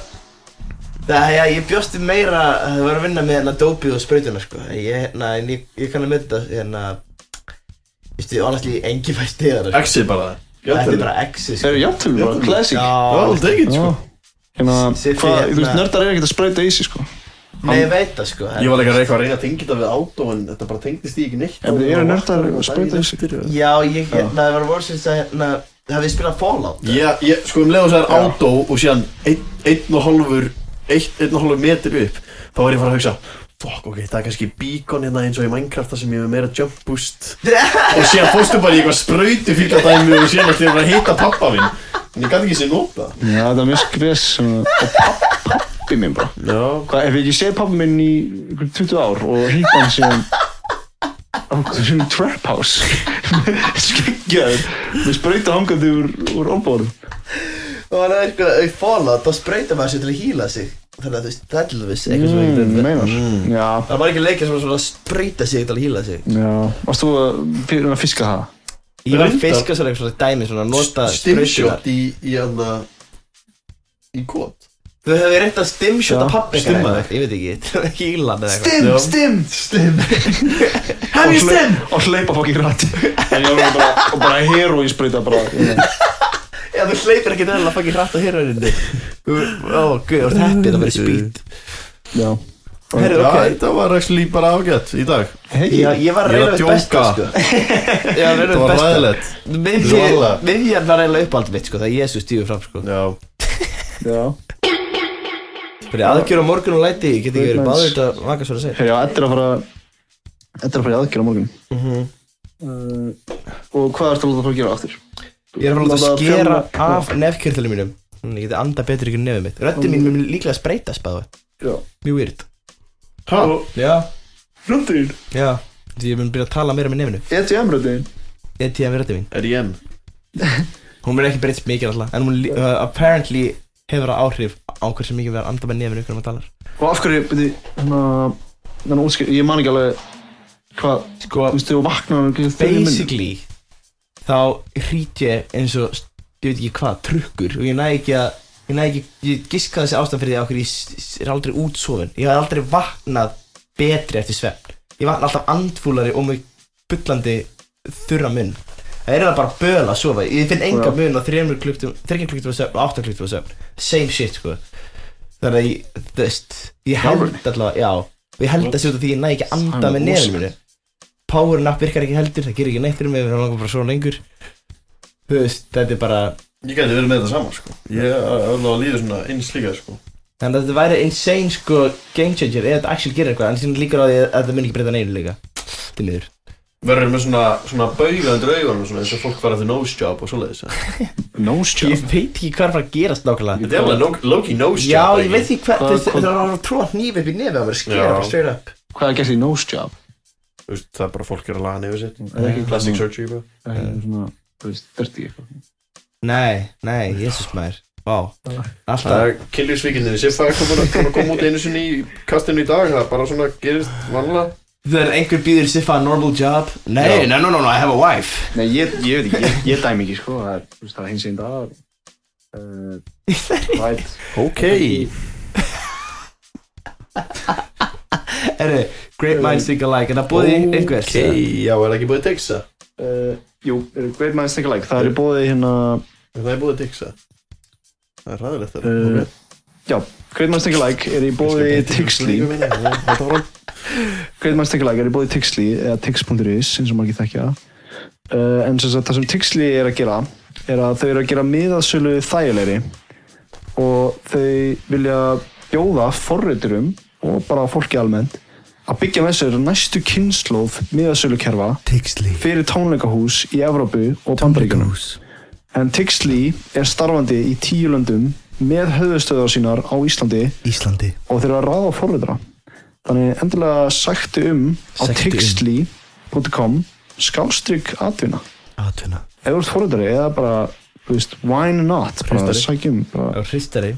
[SPEAKER 3] Það, já, ég bjósti meira að það var að vinna með hérna dópið og sprautuna sko En Ég, hérna, en ég, ég kann að mynda hérna Vistu, honestly, engi fæst til það sko.
[SPEAKER 5] Exi bara
[SPEAKER 3] Þetta er bara exi sko
[SPEAKER 4] Er jafntölu bara?
[SPEAKER 5] Jafntefli.
[SPEAKER 4] Classic
[SPEAKER 5] I'll
[SPEAKER 3] Já,
[SPEAKER 5] take it sko
[SPEAKER 4] Já Hérna
[SPEAKER 3] Siffi,
[SPEAKER 4] Hvað, þú veist
[SPEAKER 3] hérna-
[SPEAKER 4] nördar er ekkert að spröyta í sig sko
[SPEAKER 3] nei, ég veit það sko
[SPEAKER 5] Ég var líka að reyna að reyna að tengja þetta við átó en þetta bara tengdist ég ekki neitt
[SPEAKER 4] En þið eru nördar að spröyta í sig
[SPEAKER 3] Já, ég, hérna, það var vorsins að hérna Það við spilað Fallout
[SPEAKER 5] Já, ég, sko um leið og það er átó og síðan einn, einn og hálfur einn, einn og hálfur metur upp þá er ég fara að hugsa Fuck, ok, það er kannski beacon hérna eins og í Minecraft þar sem ég er með meira jump boost og síðan fórstu bara í eitthvað sprautu fíkla dæmi og síðan ætti ég bara að hitta pappa minn en ég gæti ekki sér nota
[SPEAKER 4] Já, það er mjög skres Og papp- pappi minn bara
[SPEAKER 5] Já
[SPEAKER 4] Hvað, ef ég ekki séð pappi minn í ykkur 20 ár og hýtt hann síðan á svona trap house skeggjaður með spröyta hangandi úr, úr olbóðum
[SPEAKER 3] Og það er sko, í Fallout, þá sprautar maður sér til að hýla sig Þannig að þú veist, það er til þess eitthvað
[SPEAKER 5] Mm.
[SPEAKER 3] sem ekki
[SPEAKER 4] Mm, meinar já,
[SPEAKER 3] Það var ekki leikir sem var svona að sprauta sig til að hýla sig
[SPEAKER 4] já, varst þú að fyrir að fiska það?
[SPEAKER 3] Ég var að
[SPEAKER 5] Reyndar-
[SPEAKER 3] fiska svona eitthvað svona dæmi, svona að nota sprautunar
[SPEAKER 5] Stimshot í, í hann í kót
[SPEAKER 3] Þú hefur reynt að stimshota
[SPEAKER 4] Já,
[SPEAKER 3] pappi ykkar
[SPEAKER 5] stimma
[SPEAKER 3] eða eitthvað, Ég veit ekki, til að hýla með eitthvað
[SPEAKER 5] Já.
[SPEAKER 4] stim, stim
[SPEAKER 3] Have you stim?
[SPEAKER 4] og hleypa fokkin rætt en ég var bara, og bara heroin spröyta bara
[SPEAKER 3] Já, þú hleypir ekki eðlilega fucking hratt á héruninni Ó, guð, þú ert heppið að vera speed
[SPEAKER 4] já,
[SPEAKER 5] Já,
[SPEAKER 3] Herru, ok
[SPEAKER 5] þetta var actually bara ágætt í dag
[SPEAKER 4] hei
[SPEAKER 3] Já, ég var að
[SPEAKER 5] Ég er
[SPEAKER 3] reyna
[SPEAKER 5] að
[SPEAKER 3] við besta,
[SPEAKER 5] djóka.
[SPEAKER 3] sko Já, reyna
[SPEAKER 5] Þetta
[SPEAKER 3] við
[SPEAKER 5] var
[SPEAKER 3] besta
[SPEAKER 5] ræðilegt
[SPEAKER 3] Miðjan-
[SPEAKER 5] Rólega.
[SPEAKER 3] Miðjan var eiginlega uppáhald mitt, sko, þegar Jésu stífur fram, sko
[SPEAKER 5] Já
[SPEAKER 4] já
[SPEAKER 3] Fyrir aðgjör á morgun og læti, ég get ekki verið báður þetta vaka svo að segja.
[SPEAKER 4] Herri, já, Edda er að fara Edda er að fara í aðgerð á morgun uh, Og hvað ertu að láta fara að gera aftur?
[SPEAKER 3] Ég er að fara að láta
[SPEAKER 4] Láta
[SPEAKER 3] skera
[SPEAKER 4] prjóna-
[SPEAKER 3] af nefkjörðlunum mínum. Þannig að ég geti anda betur ykkur nefið mitt. Röddin mín mun líklega spreytast báðu.
[SPEAKER 4] Já
[SPEAKER 3] Mjög weird.
[SPEAKER 5] Hæ?
[SPEAKER 3] Já.
[SPEAKER 4] Röndin
[SPEAKER 3] Já. Því ég mun byrja að tala meira með nefinu.
[SPEAKER 4] ETM röndin
[SPEAKER 3] Eða tíðan við röddin mín.
[SPEAKER 5] Er ég enn?
[SPEAKER 3] Hún mun ekki breytst mikið alltaf. En hún lí- uh, apparently hefur það áhrif á hversu mikið við erum að anda með nefinu hvernig maður talar.
[SPEAKER 4] Og af hverju, beti, hérna Þannig útskýr, ég man ekki alveg Hvað,
[SPEAKER 3] Sko,
[SPEAKER 4] þú veist, þú vaknar um einhverjum fimm mínútum.
[SPEAKER 3] basically þá hrýt ég eins og ég veit ekki hvað, trukkur og ég næ ekki að ég næ ekki, ég giska þessi ástæðan fyrir því að okkur ég s- s- er aldrei útsofin ég hef aldrei vaknað betri eftir svefn ég vakna alltaf andfúlari og með bullandi þurra munn það er það bara böl að sofa ég finn enga
[SPEAKER 4] Já.
[SPEAKER 3] mun á 3 klukktum 3 klukktum svefn og 8 klukktum svefn same shit sko þannig að ég, þú veist, ég held allavega, já og ég held að sé út af því að ég næ ekki að anda
[SPEAKER 4] Það er
[SPEAKER 3] með nefnum
[SPEAKER 4] rosalegt.
[SPEAKER 3] minni power nap virkar ekki heldur, það gerir ekki neitt fyrir mig við erum langar bara svo lengur þú veist, þetta er bara
[SPEAKER 5] Ég gæti verið með þetta saman sko Ég allavega líður svona eins líka sko
[SPEAKER 3] þannig að þetta væri insane sko game changer eða þetta actually gerir eitthvað, en síðan líkar á því að þetta mun ekki breyta neinu líka þetta er miður
[SPEAKER 5] Verður með svona, svona bauga undir augunum svona eins og fólk var eftir nose job og svoleiðis eða?
[SPEAKER 4] Nose
[SPEAKER 3] ég
[SPEAKER 4] job
[SPEAKER 3] veit ekki hvað er að fara að gerast nákvæmlega
[SPEAKER 5] Þetta er alveg no- Loki nose
[SPEAKER 3] já,
[SPEAKER 5] job
[SPEAKER 3] ég veit ekki hvað,
[SPEAKER 4] Hvað-
[SPEAKER 3] þú veist,
[SPEAKER 4] hvað-
[SPEAKER 3] það er að tróða nýf upp í nefið að vera skera
[SPEAKER 5] Já.
[SPEAKER 3] bara straight up
[SPEAKER 4] Hvað er að gera í nose job?
[SPEAKER 5] Þú veist, það er bara fólk er að laga nefið sitt
[SPEAKER 4] Er ekki
[SPEAKER 5] Plastic surgery bro
[SPEAKER 4] Það er Eh, svona, þú veist, dirty eitthvað
[SPEAKER 3] nei, nei, jésus maður vá,
[SPEAKER 5] Það
[SPEAKER 3] alltaf
[SPEAKER 5] er kiljursvíkildinni Siffa er komin að komin að koma út einu sinni í kastinu í dag Það er bara svona gerist vanlega
[SPEAKER 3] þegar einhver býður siffa a normal job nei,
[SPEAKER 5] Já.
[SPEAKER 3] no, no, no, no, I have a wife
[SPEAKER 4] Nei, ég, ég veit ekki, ég, ég dæmi ekki, sko Það er, þú veist, það er hins einn dag uh, Right
[SPEAKER 5] Ok
[SPEAKER 3] Erðu, great minds think alike, en það búið okay. einhvers
[SPEAKER 5] Ok, já, er það ekki búið að digsa?
[SPEAKER 4] uh, Jú, er Great Minds Think Alike Það er í bóði hérna
[SPEAKER 5] Er það ekki búið að digsa? Það er ræðilegt það
[SPEAKER 3] Eh,
[SPEAKER 4] uh, Já, Great Minds Think Alike er í bóði Tixly
[SPEAKER 5] Þetta var hann
[SPEAKER 4] Great Minds Think Alike er í bóði Tixly eða Tix.is eins og margir þekkja uh, En sem sagt, það sem Tixly er að gera er að þau eru að gera miðasölu þægilegri og þau vilja bjóða forriturum og bara fólki almennt að byggja með sér næstu kynnslóð miðasölukerfa
[SPEAKER 3] Tixley
[SPEAKER 4] fyrir tónleikahús í Evrópu og Bandaríkunum. En Tixley er starfandi í tíu löndum með höfðustöðar sínar á Íslandi
[SPEAKER 3] Íslandi
[SPEAKER 4] og þeir eru að ráða forröðra. Þannig endilega sæktu um á
[SPEAKER 3] Sæktu um.
[SPEAKER 4] tixley.com skástrygg atvinna.
[SPEAKER 3] Atvinna
[SPEAKER 4] Ef þú ert forröðari eða bara, þú veist, why not? Bara
[SPEAKER 3] Hristari.
[SPEAKER 4] sækjum, bara,
[SPEAKER 3] Og hristari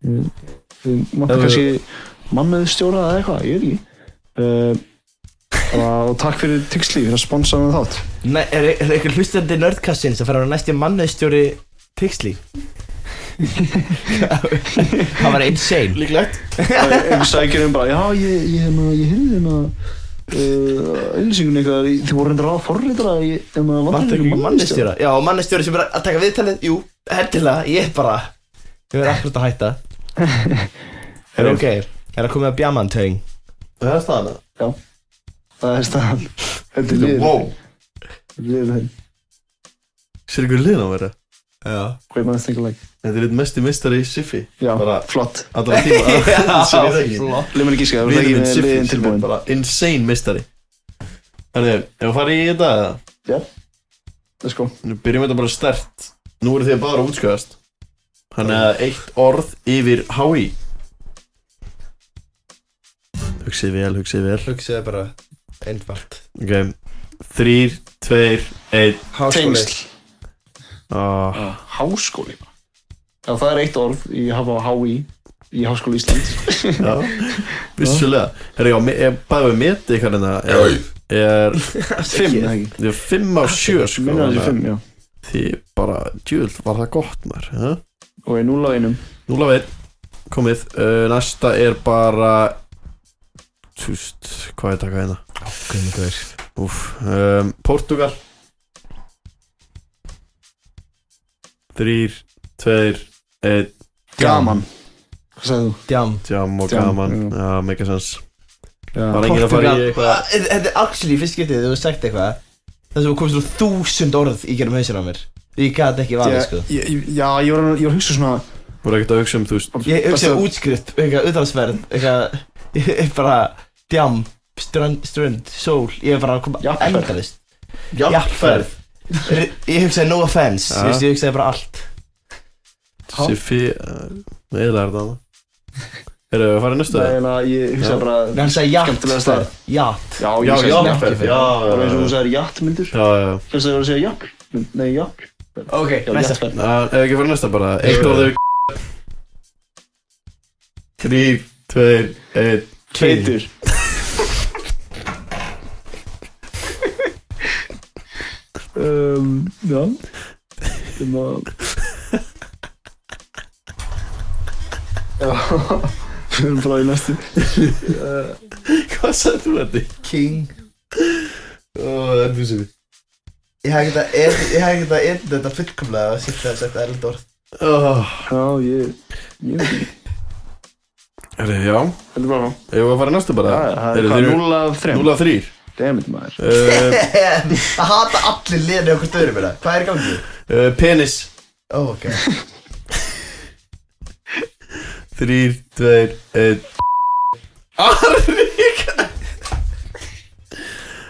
[SPEAKER 4] þú
[SPEAKER 3] Ef
[SPEAKER 4] máttu
[SPEAKER 3] þú-
[SPEAKER 4] kannski mannöðu stjóra eða eitthvað, ég veit ekki. Uh, bara, og takk fyrir Tixley fyrir að sponsa með þátt.
[SPEAKER 3] Nei, er, er einhver hlustandi nördkassin sem fara að vera næsti mannauðstjóri Tixley? það var insane
[SPEAKER 5] Líklegt
[SPEAKER 4] Ég sækir um bara, já, ég, ég, hérna, ég hefði hérna uh, auðlýsingun eitthvað, þið voru hendur á forrítara ég, hérna,
[SPEAKER 3] Vantar ekki mannauðstjóra? Já, og mannauðstjóri sem er að taka viðtalið Jú, hendilega, ég bara Ég verði akkurat að hætta Er ok, er að koma með bjamantöng
[SPEAKER 5] Það er staðan það
[SPEAKER 4] Það er staðan Þetta er liður
[SPEAKER 5] Wow
[SPEAKER 4] Þetta er liður henn
[SPEAKER 5] Sér ykkur liðan á vera
[SPEAKER 3] Já
[SPEAKER 4] Hvað maður stengur læk
[SPEAKER 5] Þetta er eitt mesti mistari í Siffi
[SPEAKER 4] Já,
[SPEAKER 5] Bara
[SPEAKER 4] flott
[SPEAKER 5] Allra tíma Sér ég það ekki
[SPEAKER 3] flott
[SPEAKER 4] Leif mér ekki skæða, það er
[SPEAKER 5] Vinur
[SPEAKER 4] ekki
[SPEAKER 5] minn
[SPEAKER 4] með liðin
[SPEAKER 5] Siffi sem er
[SPEAKER 4] tilbúin
[SPEAKER 5] bara insane mistari Þannig, ef við farið í þetta eða?
[SPEAKER 4] Já Let's go
[SPEAKER 5] Nú byrjum við þetta bara stert Nú eru þið bara að útskjöðast Þannig að eitt orð yfir HÍ Hugsið vel, hugsið vel
[SPEAKER 3] Hugsaði bara einfalt
[SPEAKER 5] Ok, þrýr, tveir, einn
[SPEAKER 3] Háskóli
[SPEAKER 5] ah.
[SPEAKER 4] Ah, Háskóli Já, það er eitt orð í hafa á HÍ í Háskóli Ísland
[SPEAKER 5] Já, vissulega Herra, já, me- ég bæði við meti eitthvað hérna er, er,
[SPEAKER 4] Fimm, eða ekki
[SPEAKER 5] er fimm af sjö sko
[SPEAKER 4] Minna þessi
[SPEAKER 5] þannig
[SPEAKER 4] fimm, já
[SPEAKER 5] að Þið bara, djúvill, var það gott maður ja?
[SPEAKER 4] Og ég núla einum
[SPEAKER 5] Núla við, komið uh, Næsta er bara Túst, hvað er taka hérna?
[SPEAKER 3] Guðmundur
[SPEAKER 5] Úf, um, Portugal Þrýr, tveir, einn
[SPEAKER 4] Gaman Hvað sagði þú?
[SPEAKER 3] Djam
[SPEAKER 5] Jam og
[SPEAKER 4] Djam,
[SPEAKER 5] gaman Já, make a sense
[SPEAKER 4] Já.
[SPEAKER 5] Var enginn að fara í eitthvað
[SPEAKER 3] Portugal Ah, Þetta þetta er actually fyrst getið þegar þú hefur sagt eitthvað Það sem komst úr þúsund orð í gerum hausinn á mér Ég gæti ekki valið
[SPEAKER 4] Ég-
[SPEAKER 3] sko
[SPEAKER 4] ég- ég- Já, ég var, ég var að hugsa svona
[SPEAKER 5] voru ekkert að hugsa um, þú veist
[SPEAKER 3] Ég hugsa útskrift, eitthvað utanlandsferð, eitthvað, ég er bara djam, strönd, strönd, sól, ég er bara að koma
[SPEAKER 4] Jafnferð.
[SPEAKER 3] endalist. Ri- Ég hugsaði no offense,
[SPEAKER 5] Ja.
[SPEAKER 3] þú veist, ég hugsaði bara allt.
[SPEAKER 5] Siffi eh, eða er það hana Erum við að fara í næstu?
[SPEAKER 4] Nei, en að ég hugsa
[SPEAKER 5] Já.
[SPEAKER 4] bara
[SPEAKER 3] En hann sagði
[SPEAKER 4] Skemmtilegasta-
[SPEAKER 3] jatferð, jat.
[SPEAKER 4] Já,
[SPEAKER 5] Já,
[SPEAKER 4] ég hugsa
[SPEAKER 3] já.
[SPEAKER 4] jafn
[SPEAKER 5] jafnferð,
[SPEAKER 3] jafnferð.
[SPEAKER 5] já,
[SPEAKER 4] Það var eins og þú
[SPEAKER 5] já,
[SPEAKER 4] sagði jatmyndur
[SPEAKER 5] já, já.
[SPEAKER 4] Finnst það að vera að segja jakk? Nei, jakk
[SPEAKER 3] Ok,
[SPEAKER 4] Já,
[SPEAKER 3] næsta.
[SPEAKER 4] jafnferð
[SPEAKER 5] Já, Ef ekki að fara í næsta bara Eitt orðið við Þrýr, tveir, einn
[SPEAKER 3] Tveitur.
[SPEAKER 4] Feitur um, Já Þeim að Já Við erum bara í næstu
[SPEAKER 5] Hvað sagði þú þetta?
[SPEAKER 3] King.
[SPEAKER 5] Það er þú Siffi
[SPEAKER 3] Ég hef ekkert að, ed- ég hef ekkert að edda þetta fullkomlega og sýtti að setja erlend orð.
[SPEAKER 5] Herri,
[SPEAKER 4] Já, ég Ég veit ekki
[SPEAKER 5] já
[SPEAKER 4] Heldur bara frá
[SPEAKER 5] Ef við að fara í næsta bara
[SPEAKER 4] Já, já, það
[SPEAKER 5] Eru
[SPEAKER 4] er hvað,
[SPEAKER 5] þeir-
[SPEAKER 4] 0 af 3
[SPEAKER 5] 0 af 3
[SPEAKER 4] Dammit maður
[SPEAKER 5] uh,
[SPEAKER 3] Það hata allir liðinu okkur stöðurum hérna. Hvað er í gangi?
[SPEAKER 5] uh, Penis
[SPEAKER 3] Ó, ok.
[SPEAKER 5] 3, 2, 1 Arvík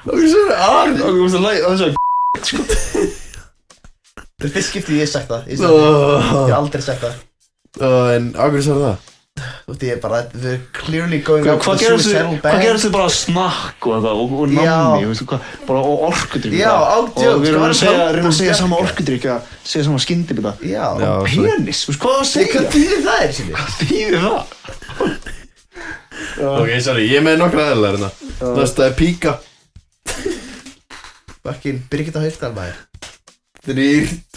[SPEAKER 5] Og þú sagði Arvík Og þú sagði Og þú sagði
[SPEAKER 3] Þetta er fyrst skiptið ég hef sagt það. Ég sagði- ég hef
[SPEAKER 5] Oh,
[SPEAKER 3] aldrei sagt það.
[SPEAKER 5] oh, en á hverju sagði það?
[SPEAKER 3] Þú veist, ég er bara, they're clearly going up
[SPEAKER 4] Hvað
[SPEAKER 3] the
[SPEAKER 4] gerast þið,
[SPEAKER 3] suicidal
[SPEAKER 4] hvað
[SPEAKER 3] band.
[SPEAKER 4] gerast þið bara snakk og eitthvað og, og namni,
[SPEAKER 3] Já.
[SPEAKER 4] veistu hvað, bara og orkudrykk
[SPEAKER 3] Já, á
[SPEAKER 4] Og
[SPEAKER 3] djók,
[SPEAKER 4] við erum
[SPEAKER 3] sko,
[SPEAKER 4] að segja,
[SPEAKER 3] hann-
[SPEAKER 4] reyna að segja
[SPEAKER 3] hann-
[SPEAKER 4] sama orkudrykk eða segja sama skyndibita
[SPEAKER 3] Já.
[SPEAKER 5] Já, sorry.
[SPEAKER 4] Penis, veistu hvað það
[SPEAKER 3] Nei,
[SPEAKER 4] segja,
[SPEAKER 3] hvað þýðir það er sinni?
[SPEAKER 4] hvað þýðir það?
[SPEAKER 5] Ok, sorry, ég er með nokkra aðeins hérna Næsta er píka
[SPEAKER 3] Bakkin Birgitta Haugdal maður
[SPEAKER 5] 3,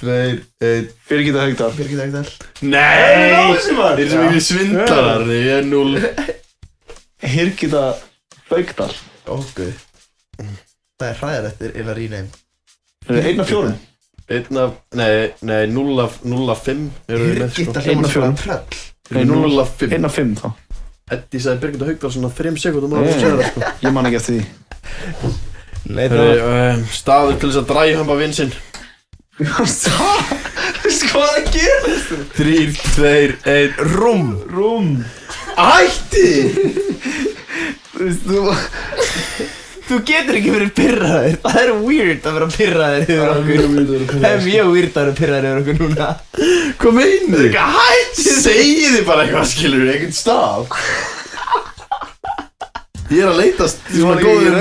[SPEAKER 5] 2, 1
[SPEAKER 4] Birgitta Haugdal
[SPEAKER 3] Birgitta Haugdal
[SPEAKER 5] Nei
[SPEAKER 4] var
[SPEAKER 5] Þeir eru svo mikið svindlarar Ég er 0
[SPEAKER 4] Hirgita Haugdal
[SPEAKER 3] Óguð Það er hræðalegt er illa rínæm
[SPEAKER 4] Einna fjórum
[SPEAKER 5] 1 af Nei, nei 0 af 0 af 5 Eru við með
[SPEAKER 4] Einn
[SPEAKER 5] sko
[SPEAKER 3] Birgitta hljóma
[SPEAKER 4] af
[SPEAKER 3] svona
[SPEAKER 4] fjórum.
[SPEAKER 3] tröll
[SPEAKER 5] Eru 0 af 5
[SPEAKER 4] Einna fimm þá
[SPEAKER 5] Eddi sagði Birgit og Haugdal svona 3 sekundum og
[SPEAKER 4] Nei.
[SPEAKER 5] það var sko
[SPEAKER 4] Ég man ekki eftir því
[SPEAKER 3] Nei,
[SPEAKER 5] Herri, um, staður til þess að dræhamba vinsinn
[SPEAKER 4] Veistu hvað það gerir?
[SPEAKER 5] 3, 2, 1
[SPEAKER 3] Rúm
[SPEAKER 4] Rúm
[SPEAKER 5] Ætti!
[SPEAKER 4] Veistu,
[SPEAKER 3] Þú getur ekki verið pyrraður Það er weird að vera pyrraður yfir okkur Það er mjög weird að vera pyrraður yfir okkur núna
[SPEAKER 5] Hvað meinu þið? Hætti! Segji þið bara eitthvað skilur við, einhvern stað Ég er að leitast svona góður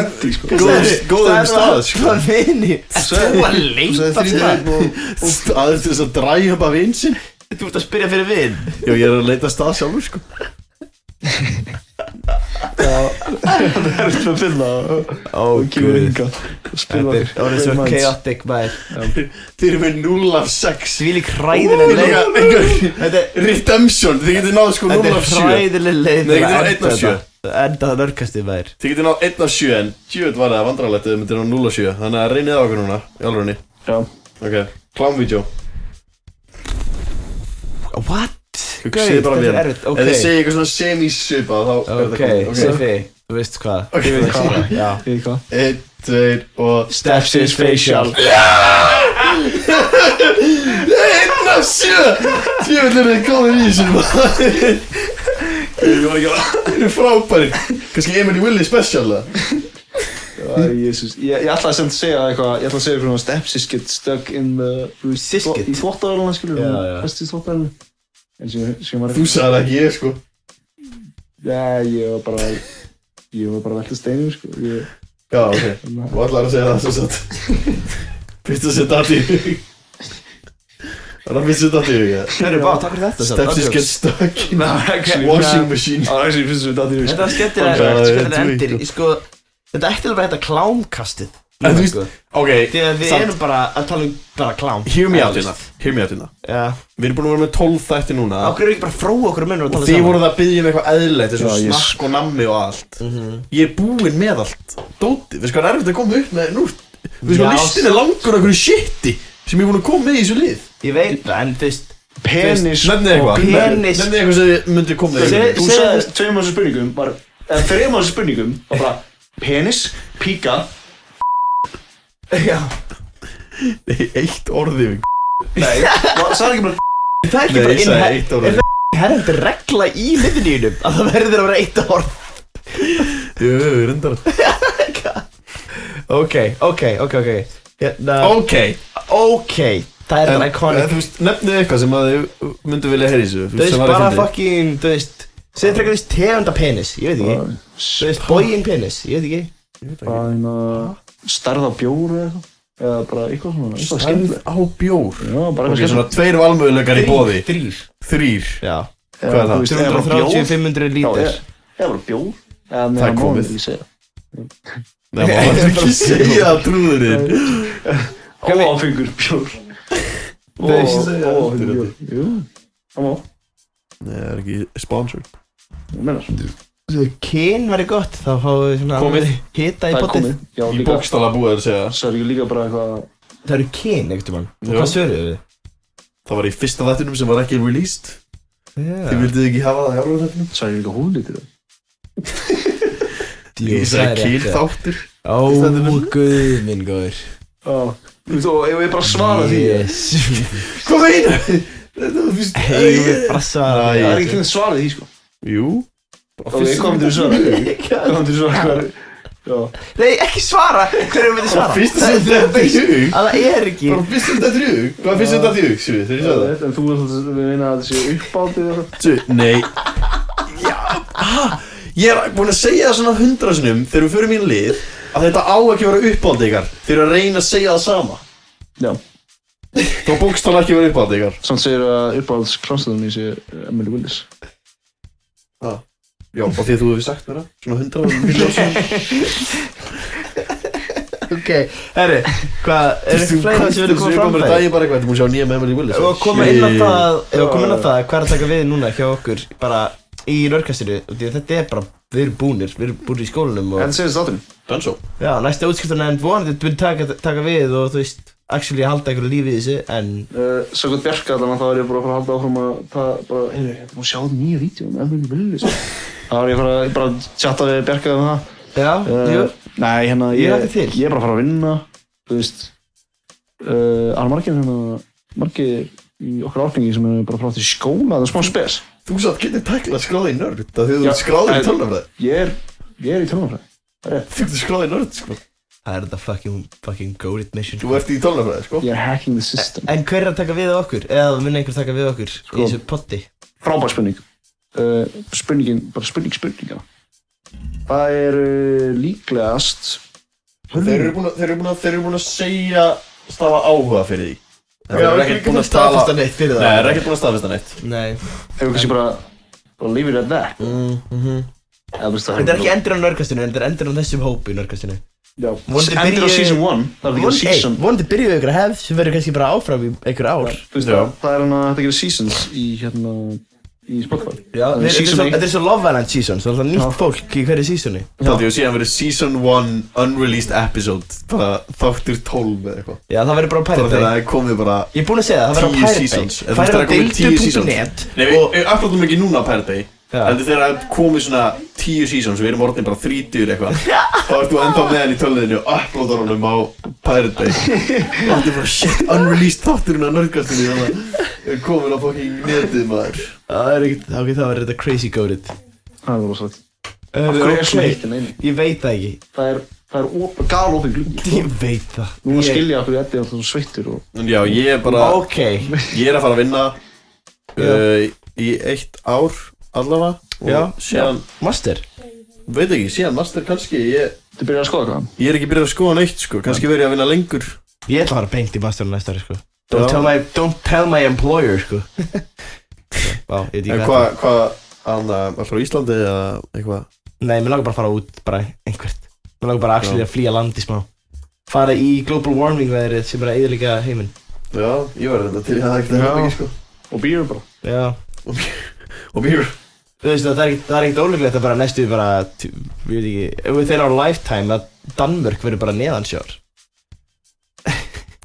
[SPEAKER 5] Góður, góður stað sko.
[SPEAKER 3] Hvað finni? Þú að leita stað
[SPEAKER 5] Staður til þess að dræhamba vinsinn
[SPEAKER 3] Þú ert að spyrja fyrir vin
[SPEAKER 5] Já, ég er að leita stað sjálfur sko
[SPEAKER 4] Það er eftir að finna
[SPEAKER 3] Ó,
[SPEAKER 4] og kemur hinga
[SPEAKER 3] Þetta er orðið svo chaotic maður
[SPEAKER 5] Þið eru með 0 af 6
[SPEAKER 3] Svílík hræðileg leið Þetta er
[SPEAKER 5] Redemption, þið getur náð sko 0
[SPEAKER 3] Þetta er
[SPEAKER 5] af 7
[SPEAKER 3] hræðileg leið
[SPEAKER 5] Nei,
[SPEAKER 3] til
[SPEAKER 5] þetta er
[SPEAKER 3] að enda
[SPEAKER 5] einn af sjö.
[SPEAKER 3] þetta. Enda það nörgastið maður
[SPEAKER 5] Þið getur náð 1 af 7 en Tjóðt var það vandrarlegt ef þið myndir ná 0 af 7 Þannig að reynið á okkur núna, í alvörunni
[SPEAKER 4] Já
[SPEAKER 5] Ok, klámvídjó
[SPEAKER 3] What?
[SPEAKER 5] Hugsið bara
[SPEAKER 3] þetta
[SPEAKER 5] við
[SPEAKER 3] er
[SPEAKER 5] hann
[SPEAKER 3] erfitt, ok
[SPEAKER 5] Ef þið segir eitthvað svona semi-svipað þá er
[SPEAKER 3] Ok,
[SPEAKER 5] þetta komið
[SPEAKER 3] Siffi, þú veist hvað
[SPEAKER 5] Ok,
[SPEAKER 3] Þú veist
[SPEAKER 5] hvað?
[SPEAKER 3] hvað, já.
[SPEAKER 4] Ég veit hvað
[SPEAKER 5] 1, 2 og
[SPEAKER 3] Steps is facial
[SPEAKER 5] Einn af Ah, sjö Tjóðvill eru þið góðir í þessu maður Ég var ekki að Þeir eru frábæri Kanski Emily Willy special það
[SPEAKER 4] Æ, Jésús, ég, ég ætlaði sem að segja eitthvað, ég ætlaði að segja fyrir hún að stepsis get stuck in the... þú veist,
[SPEAKER 5] Sko,
[SPEAKER 3] Siskit?
[SPEAKER 4] Í þvóttavæluna, skilur
[SPEAKER 3] Já, já.
[SPEAKER 4] Festi í þvóttavæluna. En sem, sem var...
[SPEAKER 5] Þú sagði það ekki ég sko
[SPEAKER 4] Já, ég var bara... Ég var bara að velta steinum, sko. Ég,
[SPEAKER 5] Já, ok Þú ætlar að segja það svo satt Fyrst að setja allt í hug Það er að fyrst að setja allt í hug ja.
[SPEAKER 3] Hörru, vá, takk fyrir þetta samt,
[SPEAKER 5] Steps is
[SPEAKER 3] ándjóks.
[SPEAKER 5] get stuck in
[SPEAKER 4] Ná, actually,
[SPEAKER 5] Washing machine
[SPEAKER 4] Það er sem finnst við dætið,
[SPEAKER 3] Þetta var
[SPEAKER 5] Já,
[SPEAKER 3] skemmtilega
[SPEAKER 5] ég
[SPEAKER 3] skemmtilega
[SPEAKER 5] trúi
[SPEAKER 3] endir
[SPEAKER 5] ekki.
[SPEAKER 3] Ég sko, Þetta ætti alveg að hætta klámkastið
[SPEAKER 5] En þú veist-
[SPEAKER 3] sko.
[SPEAKER 5] Ok,
[SPEAKER 3] Því að við
[SPEAKER 5] samt-
[SPEAKER 3] erum bara að tala um bara klám
[SPEAKER 5] Hear me
[SPEAKER 3] Já,
[SPEAKER 5] out
[SPEAKER 3] þú
[SPEAKER 5] hérna
[SPEAKER 3] veist.
[SPEAKER 5] Hear me out hérna
[SPEAKER 3] Já
[SPEAKER 5] Við erum búin að vera með 12 þætti núna
[SPEAKER 3] Okkur erum við ekki bara að fróa okkur um munur og tala
[SPEAKER 5] Þið
[SPEAKER 3] saman sko-
[SPEAKER 5] voruð að byggja um eitthvað eðlilegt eins og
[SPEAKER 4] Já, ég-
[SPEAKER 5] snakk og nammi og allt
[SPEAKER 3] Mhm.
[SPEAKER 5] Ég er búinn með allt Dóti, við sko er erfitt að koma upp með nú Við sko
[SPEAKER 3] Já,
[SPEAKER 5] listin er langur af hverju shiti sem ég er búinn að koma með í þessu lið
[SPEAKER 3] Ég veit það, en þú veist
[SPEAKER 4] Penis...
[SPEAKER 5] Nefnið eitthvað
[SPEAKER 3] Penis.
[SPEAKER 5] Nefnið eitthvað sem þið myndið koma með í þessu
[SPEAKER 3] Segðu-
[SPEAKER 5] lið.
[SPEAKER 4] Þú
[SPEAKER 3] segðu-
[SPEAKER 4] sagði tveim ásum spurningum, var... Eða þreim ásum spurningum, var bara... Penis, píka...
[SPEAKER 3] Já
[SPEAKER 5] Nei, Eitt orðið
[SPEAKER 4] Nei, var- sagði ekki bara...
[SPEAKER 3] Er það ekki
[SPEAKER 5] Nei,
[SPEAKER 3] bara
[SPEAKER 5] ég sagði eitt
[SPEAKER 3] innhe-
[SPEAKER 5] orð.
[SPEAKER 3] er það ekki herrendi regla í liðinýjunum að það verður að vera eitt orð
[SPEAKER 5] Jú, reyndar
[SPEAKER 3] ok, ok, ok, ok hérna,
[SPEAKER 5] Ok
[SPEAKER 3] ok það er
[SPEAKER 5] En,
[SPEAKER 3] bara
[SPEAKER 5] en
[SPEAKER 3] iconic
[SPEAKER 5] þú veist, nefnið eitthvað sem að þið myndu vilja heyra í þessu
[SPEAKER 3] þú veist bara fucking, þú veist segð frekar þú veist tegunda penis, ég veit ekki þú veist bógin penis, ég veit ekki
[SPEAKER 4] bara hérna stærð á bjóru eða eitthvað eða bara eitthvað svona eitthvað
[SPEAKER 6] Stærð
[SPEAKER 4] skemmtilegt.
[SPEAKER 6] á bjór
[SPEAKER 4] já, bara
[SPEAKER 5] Ok,
[SPEAKER 4] eitthvað
[SPEAKER 5] svona tveir valmöðulegar í bóði
[SPEAKER 3] þrýr
[SPEAKER 5] Þrýr
[SPEAKER 3] já,
[SPEAKER 4] skemmt
[SPEAKER 5] hvað er það?
[SPEAKER 3] 330-500
[SPEAKER 4] Oh,
[SPEAKER 3] lítir
[SPEAKER 4] eða bara bjór eða með
[SPEAKER 5] Það er
[SPEAKER 4] hann
[SPEAKER 5] komið.
[SPEAKER 4] mánuði, ég segja.
[SPEAKER 5] Nei, maður er ekki að segja það, trúður þinn
[SPEAKER 4] óáfengur bjór
[SPEAKER 3] Þú veist-
[SPEAKER 4] óáfengur bjór jú það má
[SPEAKER 5] Nei, það er ekki sponsored
[SPEAKER 4] ég meina
[SPEAKER 3] kyn verður gott, þá fáum við svona
[SPEAKER 5] Komið.
[SPEAKER 3] hita
[SPEAKER 4] það
[SPEAKER 3] í
[SPEAKER 4] er
[SPEAKER 3] potið
[SPEAKER 4] komið já
[SPEAKER 5] Í
[SPEAKER 4] líka
[SPEAKER 5] bókstala búið að segja
[SPEAKER 4] það er líka bara eitthvað
[SPEAKER 3] það eru kyn, einhvern veginn, og
[SPEAKER 5] Já.
[SPEAKER 3] hvað svöruðu við?
[SPEAKER 5] Það var í fyrsta þættinum sem var ekki released Þið
[SPEAKER 3] Já,
[SPEAKER 5] vildið ekki hafa það í ára þættinum
[SPEAKER 4] það er líka húðlítur
[SPEAKER 3] djú,
[SPEAKER 5] Ég
[SPEAKER 3] það er
[SPEAKER 5] sagði kýl
[SPEAKER 3] rétt, já.
[SPEAKER 5] þáttur
[SPEAKER 3] Ó, guð minn góður
[SPEAKER 4] þú veist og ef ég bara svara því
[SPEAKER 3] Jésu
[SPEAKER 5] Hvað meina? Þetta var fyrst
[SPEAKER 3] Eigum við bara svara
[SPEAKER 4] það
[SPEAKER 5] Æ.
[SPEAKER 4] er ekki til að svara því sko
[SPEAKER 5] Jú
[SPEAKER 4] ok, hvað myndir þú svara hvað myndir þú svara hvað er- já
[SPEAKER 3] Nei, ekki svara Hverju myndir svara?
[SPEAKER 5] Fyrst sem þetta í hug
[SPEAKER 3] Að það er ekki
[SPEAKER 5] Bara fyrst sem þetta í hug Hvað fyrst sem þetta í hug, Sjöfi, þegar ég
[SPEAKER 4] Já,
[SPEAKER 5] sagði það?
[SPEAKER 4] þetta, en þú er svolítið við meina að þetta sé uppátið og það.
[SPEAKER 5] Sjöfi, nei
[SPEAKER 6] Ég er búinn að segja það svona hundra sinnum þegar við förum í lið að þetta á ekki að vera uppáld ykkar þeir eru að reyna að segja það sama
[SPEAKER 4] Já,
[SPEAKER 5] Þá bókstala ekki verið uppátt ykkar
[SPEAKER 4] samt segir að uppáhalds kranstæðan í sé eh, Emily Willis.
[SPEAKER 6] Já, og því að þú hefur sagt mér það svona hundra
[SPEAKER 3] Ok, herri Hvað, er
[SPEAKER 5] Þú
[SPEAKER 3] ekki fleira sem vilja koma fram
[SPEAKER 5] með
[SPEAKER 3] það?
[SPEAKER 5] daginn bara eitthvað Þú múið sjá nýja með Emily Willis
[SPEAKER 3] Ef að koma inn á það Ef að koma inn á það Hvað er að taka við núna hjá okkur Bara í nörgkastinu Þetta er bara Við erum búnir Við erum búnir í skólanum og,
[SPEAKER 4] Þetta segir þátturinn.
[SPEAKER 6] Dansó
[SPEAKER 3] Já, næsta útskiptan En vonandi Þú myndir taka, taka við Og þú veist Actually halda einhverju lífi í þessu En
[SPEAKER 4] Uh, Svakot Bjarka allan þá er ég bara að fara að halda áfram að það bara, heyrðu, ég má sjá nýja vídeo um Emily Willis. þá er ég að fara- bara að chatta við Bjarka um það.
[SPEAKER 3] Já,
[SPEAKER 5] Eh.
[SPEAKER 3] jú
[SPEAKER 4] Uh, nei, hérna,
[SPEAKER 3] Ég
[SPEAKER 4] ég,
[SPEAKER 3] er ekki til.
[SPEAKER 4] ég er bara að fara að vinna, þú veist. Uh, Það er margir hérna, margir í okkar árgangi sem eru bara að fara til skóla, það er smá spes.
[SPEAKER 5] Þú satt getur tæklað skráði í nörd Það því
[SPEAKER 4] Já,
[SPEAKER 5] þú skráði
[SPEAKER 4] en-
[SPEAKER 5] í tölvafræði
[SPEAKER 4] Ég er, ég er í tölvunarfræði.
[SPEAKER 5] Þú getur skráði í nörd sko
[SPEAKER 3] Það er þetta fucking Fucking goat admission
[SPEAKER 5] Þú ert í tölvafræði sko
[SPEAKER 4] Ég er hacking the system.
[SPEAKER 3] En hver er að taka við af okkur? Eða mun einhver taka við okkur
[SPEAKER 5] Sko.
[SPEAKER 3] í þessu potti?
[SPEAKER 4] frábær spurning uh, spurningin, bara spurning spurninga það er uh, líklegast
[SPEAKER 5] Þeir eru búin að- þeir eru búin að- þeir eru búin að segja stafa áhuga fyrir því Þeir
[SPEAKER 3] Já,
[SPEAKER 5] eru
[SPEAKER 3] ekki
[SPEAKER 5] ekkert búin að stafa
[SPEAKER 3] staðfesta neitt fyrir
[SPEAKER 5] Nei,
[SPEAKER 3] það
[SPEAKER 5] þeir eru ekkert búin að staðfesta neitt
[SPEAKER 3] Nei
[SPEAKER 4] ef við kannski bara, bara leave it at that
[SPEAKER 5] Mhm,
[SPEAKER 4] eða þú veist það
[SPEAKER 3] Þetta er ekki endur á nörgastinu, en þetta er endur á þessum hópi í nörgastinu
[SPEAKER 4] já,
[SPEAKER 3] Vonandi
[SPEAKER 4] endur á
[SPEAKER 3] byrji-
[SPEAKER 4] season 1 það er ekki
[SPEAKER 3] Von-
[SPEAKER 4] að
[SPEAKER 3] Ei,
[SPEAKER 4] season
[SPEAKER 3] Vonandi byrjuðu ykkur að hefð sem verður kannski bara áfram í einhver ár
[SPEAKER 4] þú veist það það er hann að þetta gerir seasons í hérna í Spotify
[SPEAKER 3] Já,
[SPEAKER 4] Það er
[SPEAKER 3] þeir- þetta er
[SPEAKER 4] season
[SPEAKER 3] svo-
[SPEAKER 4] eitt.
[SPEAKER 3] þetta er svo Love Island season, svo alltaf nýtt fólk í hverju seasoni
[SPEAKER 5] Þá því að síðan verið season 1 unreleased episode Bara þáttur 12 eða eitthvað
[SPEAKER 3] Já, það verður bara á
[SPEAKER 5] Bara
[SPEAKER 3] Pirate
[SPEAKER 5] þegar
[SPEAKER 3] Bay
[SPEAKER 5] það er komið bara
[SPEAKER 3] Ég er búinn að segja það, það verður á
[SPEAKER 5] 10
[SPEAKER 3] Pirate
[SPEAKER 5] seasons
[SPEAKER 3] Bay
[SPEAKER 5] Eða þú veist,
[SPEAKER 3] Færðu
[SPEAKER 5] það er
[SPEAKER 3] á
[SPEAKER 5] komið 10 seasons
[SPEAKER 3] dildu.net
[SPEAKER 5] Nei, við
[SPEAKER 3] og
[SPEAKER 5] við uploadum ekki núna á Pirate Bay
[SPEAKER 3] Já.
[SPEAKER 5] Heldur þegar það er komið svona 10 seasons Við erum orðin bara 30 eitthvað Þá ert þú ennþá með hann í tölniðinu og uploadar honum á Pirate Bay Það er bara shit, unreleased þátturinn að nörgastinu Þannig að er komin á fucking netið maður
[SPEAKER 3] Það er ekkert, ok, það verður þetta crazy goated
[SPEAKER 4] það er rosalegt Hver er svona
[SPEAKER 3] Ok,
[SPEAKER 4] heitt í neinu?
[SPEAKER 3] ég veit það ekki
[SPEAKER 4] það er það er op, gal opið glugg
[SPEAKER 3] Ég veit það
[SPEAKER 4] núna
[SPEAKER 3] Ég-
[SPEAKER 4] skilja okkur Eddi alltaf svona sveittur og
[SPEAKER 5] En já, ég er bara
[SPEAKER 3] Ok,
[SPEAKER 5] Ég er að fara að vinna uh, í eitt ár allavega og
[SPEAKER 3] Já.
[SPEAKER 5] síðan,
[SPEAKER 3] master
[SPEAKER 5] veit ekki, síðan master kannski ég,
[SPEAKER 4] þú byrjar að skoða hvað
[SPEAKER 5] ég er ekki byrjað að skoða neitt sko, kannski verið ég að vinna lengur
[SPEAKER 3] Ég ætla að fara beint í masterinn næsta ári, sko
[SPEAKER 5] Já.
[SPEAKER 3] Don't tell my, don't tell my employer, sko Vá, ég veit ekki
[SPEAKER 5] En
[SPEAKER 3] hvað
[SPEAKER 5] hvað, hvað, hann
[SPEAKER 7] eh,
[SPEAKER 5] alltaf á Íslandi eða eitthvað
[SPEAKER 3] Nei, mér langar bara að fara út, bara einhvert Mér langar bara actually
[SPEAKER 5] Já.
[SPEAKER 3] að flýja landi smá Fara í global warming veðrið sem er að yðurleika heiminn
[SPEAKER 5] Já, ég var þetta til að það ekkert
[SPEAKER 4] Já.
[SPEAKER 5] að ekki sko
[SPEAKER 4] og býr bara
[SPEAKER 3] Já
[SPEAKER 5] Og mér,
[SPEAKER 3] Þú veist það, það er ekkert- það er ekkert ólíklegt að bara næstu bara, t- ég veit ekki, within our lifetime að Danmörk verður bara neðansjár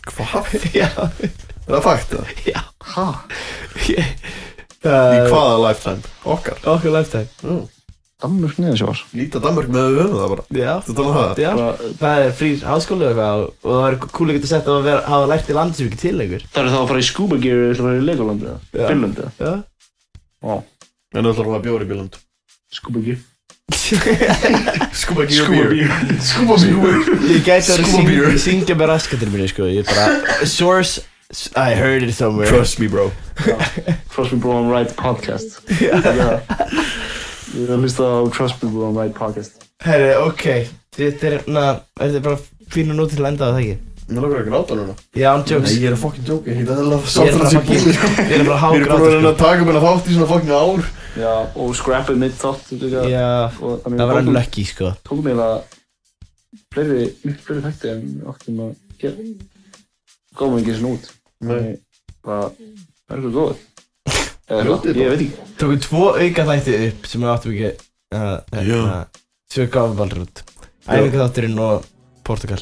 [SPEAKER 5] hvað?
[SPEAKER 3] Já,
[SPEAKER 5] Er það fakt það?
[SPEAKER 3] já
[SPEAKER 4] hæ
[SPEAKER 3] Ég-
[SPEAKER 5] Í
[SPEAKER 3] Það-
[SPEAKER 7] Eh,
[SPEAKER 5] hvaða lifetime? Okkar
[SPEAKER 7] oh.
[SPEAKER 3] Okkar lifetime
[SPEAKER 5] Já.
[SPEAKER 4] Danmörk neða sjávar
[SPEAKER 7] Líta Danmark með
[SPEAKER 5] eh,
[SPEAKER 7] við höfum það bara
[SPEAKER 3] Já,
[SPEAKER 7] Þú talaðu það
[SPEAKER 3] já Það er frýr háskóli og eitthvað og það er kúl ekkert að setja að vera, hafa lært í landi sem ekki til lengur
[SPEAKER 4] Það eru þá að fara í scuba gear Það eru í Legoland eða
[SPEAKER 3] Já.
[SPEAKER 4] Finland eða
[SPEAKER 3] Já
[SPEAKER 4] Vá,
[SPEAKER 7] En það ætlar að bjóri bíland
[SPEAKER 4] scuba gear
[SPEAKER 7] Skuba
[SPEAKER 4] Scuba gear
[SPEAKER 7] Skuba bjór
[SPEAKER 3] Ég gæti að
[SPEAKER 7] Scuba
[SPEAKER 3] syng,
[SPEAKER 7] beer.
[SPEAKER 3] syngja með raskatir minni sko Ég bara Source I heard it somewhere
[SPEAKER 7] Trust me bro
[SPEAKER 4] Crosby Brown Wright podcast Já Ég er að hlusta á Crosby Brown Wright podcast
[SPEAKER 3] Herri, ok Þetta er na, Er þetta bara fínu nóti til að enda á það ekki?
[SPEAKER 7] Mér langar að gráta núna
[SPEAKER 3] Já, I'm jokes
[SPEAKER 7] Nei, ég er að fucking joke Ég heit að það
[SPEAKER 3] Ég er
[SPEAKER 7] sáttur
[SPEAKER 3] bara
[SPEAKER 7] að sé
[SPEAKER 3] fucking-
[SPEAKER 7] búið sko.
[SPEAKER 3] Ég er bara
[SPEAKER 7] Ég er búin að
[SPEAKER 3] hágráta
[SPEAKER 7] reyna
[SPEAKER 3] sko
[SPEAKER 7] að taka mér að þátt í svona fucking ár
[SPEAKER 4] Já Og scrappið mitt þátt líka
[SPEAKER 3] Já
[SPEAKER 4] Og þannig
[SPEAKER 3] Það var
[SPEAKER 4] tókum-
[SPEAKER 3] hann lucky sko
[SPEAKER 4] Tókum ég að Fleiri, miklu fleiri þætti en við áttum að gera Gáðum ekki svona út
[SPEAKER 7] Nei.
[SPEAKER 4] Bara Það er eitthvað góð Eða
[SPEAKER 7] Ljótið
[SPEAKER 4] eitthvað,
[SPEAKER 7] bara.
[SPEAKER 4] ég veit ekki
[SPEAKER 3] Tókum tvo auka þætti upp sem við áttum ekki uh, hérna, Svo gafum valdur út Æfinga þátturinn og Portugal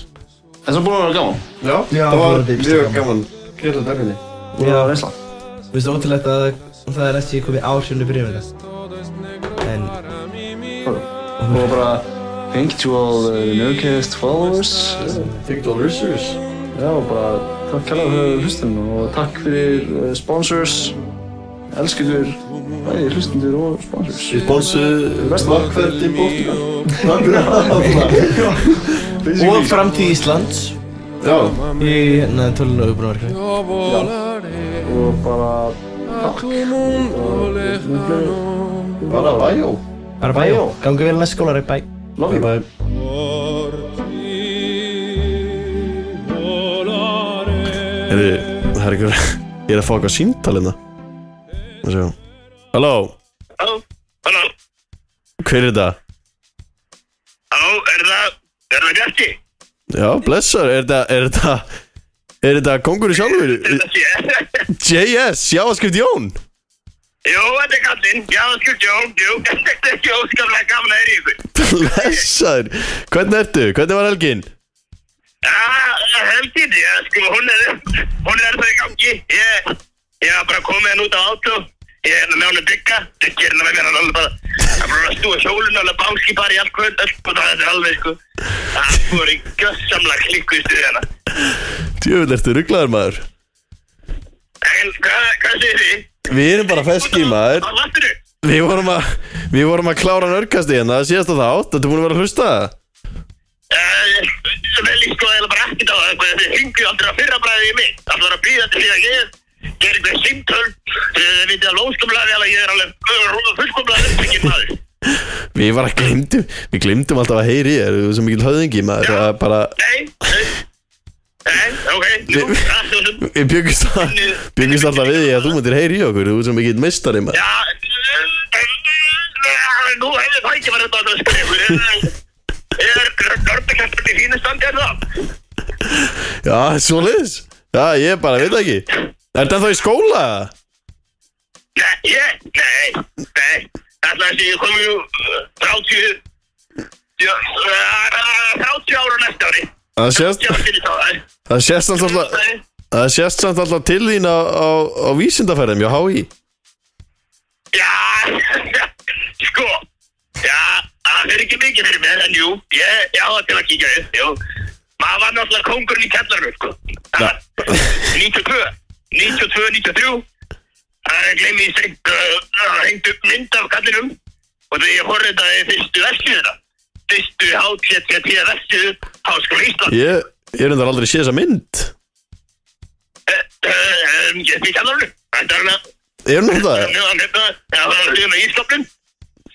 [SPEAKER 4] En svo búin að vera gaman
[SPEAKER 7] Já,
[SPEAKER 3] Já,
[SPEAKER 7] það var
[SPEAKER 3] bara bílstjórn.
[SPEAKER 7] mjög gaman Kjærlega dagfinni
[SPEAKER 4] Búin að vera reynsla
[SPEAKER 3] Mér finnst ótrúlegt að það er ekki komið ásjónu byrjum þetta En
[SPEAKER 4] Og bara Thank you to all the Nerdcast followers
[SPEAKER 7] Take it all research
[SPEAKER 4] Já, og bara Takk kærlega fyrir hlustin og takk fyrir eh, sponsors Elskuður Bæði hlustundur og sponsors
[SPEAKER 7] Responsu
[SPEAKER 4] Best
[SPEAKER 7] Markverdi bóttina Takk fyrir það
[SPEAKER 3] Og framtíð Íslands
[SPEAKER 7] Já
[SPEAKER 3] Í hérna tölun og upprunnverkni
[SPEAKER 1] Yo volaré
[SPEAKER 4] Og bara
[SPEAKER 1] a tu mundo lejano.
[SPEAKER 7] Bara bæjó
[SPEAKER 3] Bara bæjó Gangu vel næst skólari, bæ
[SPEAKER 4] Love you
[SPEAKER 7] Bæ
[SPEAKER 1] Por ti volaré.
[SPEAKER 5] Herri, það er ykkur Ég er að fá eitthvað síntal hérna Það séu Halló
[SPEAKER 8] Halló, halló,
[SPEAKER 5] Hver er þetta?
[SPEAKER 8] halló, er það, er það Bjarki?
[SPEAKER 5] Já, blessar Er þetta Er þetta Er þetta kongur í sjálfur?
[SPEAKER 8] Er það sé?
[SPEAKER 5] JS, sjáaskrift Jón
[SPEAKER 8] Jú, þetta er kallinn, já það skilst, jú, jú, þetta er ekki óskaplega gaman að er í ykkur.
[SPEAKER 5] Blessar Hvernig ertu? Hvernig var helgin?
[SPEAKER 8] Já, helginn, já, sko, hún er, hún er það í gangi, ég, ég var bara komið henn út á átó, ég er með hún að digga, digga hérna með mér, hann er alveg bara, hann er bara að stúa hjólun, hann er að bánski bara í allt kvöld, öll, og það er alveg, sko, það er bara í gössamlega klikku í stuði hennar.
[SPEAKER 5] Djöfull ertu rugglaður maður
[SPEAKER 8] En, hvað, hvað segir þið?
[SPEAKER 5] Við erum bara feski maður
[SPEAKER 8] Á vatninu?
[SPEAKER 5] Við vorum að Við vorum að klára nörgasti hérna Það séðast að þátt Þetta búin að vera að hlusta
[SPEAKER 8] Það er líka eða bara ekkert á það, þið hringju aldrei að fyrra bræði í mig. Það var að býða til því að ég ger eitthvað simtöl, þið vitið alveg óskumlega vel að ég er alveg fullkomlega uppbyggin maður.
[SPEAKER 5] Við bara glemdum Við glemdum alltaf að heyri þér Þú er svo mikil höðingi maður Það er bara
[SPEAKER 8] Nei, nei, nei, ok, jú, það er svona.
[SPEAKER 5] Við byggumst að Byggumst alltaf við því að þú myndir heyri í okkur Þú er svo mikil mistari maður
[SPEAKER 8] Já, en nú hefði það ekki verið þetta að skrifa. Ég er gardakastur í fínu standi en það.
[SPEAKER 5] Já, svo liðs Já, ég bara veit það ekki Er það þá í skóla?
[SPEAKER 8] Nei, ég, nei, nei, alltaf þessi, ég kom jú uh, 30, já, uh, 30 ára næsta ári.
[SPEAKER 5] Það sést
[SPEAKER 8] Já, fyrir þá, það.
[SPEAKER 5] Það sést samt alltaf Það sést samt alltaf til þín á, á, á vísindaferðum Já, hái
[SPEAKER 8] Já, sko, já, það er ekki mikið fyrir mér, en jú, ég, ég á það til að kíkja upp, jú. Maður var náttúrulega kongurinn í kellarinu, sko. Það- 92, 92, 93, það er gleymið í sig, það hengt upp mynd af kallinum og þegar ég horfði þetta í fyrstu versiðina, fyrstu HTTP versið Háskóla Ísland.
[SPEAKER 5] Ég, ég er undar aldrei séð þessa mynd
[SPEAKER 8] Eh, eh, eh, Ég er í kellarinu, þetta er hann
[SPEAKER 5] Er hún þetta?
[SPEAKER 8] að, það var hliðin á Íslandin.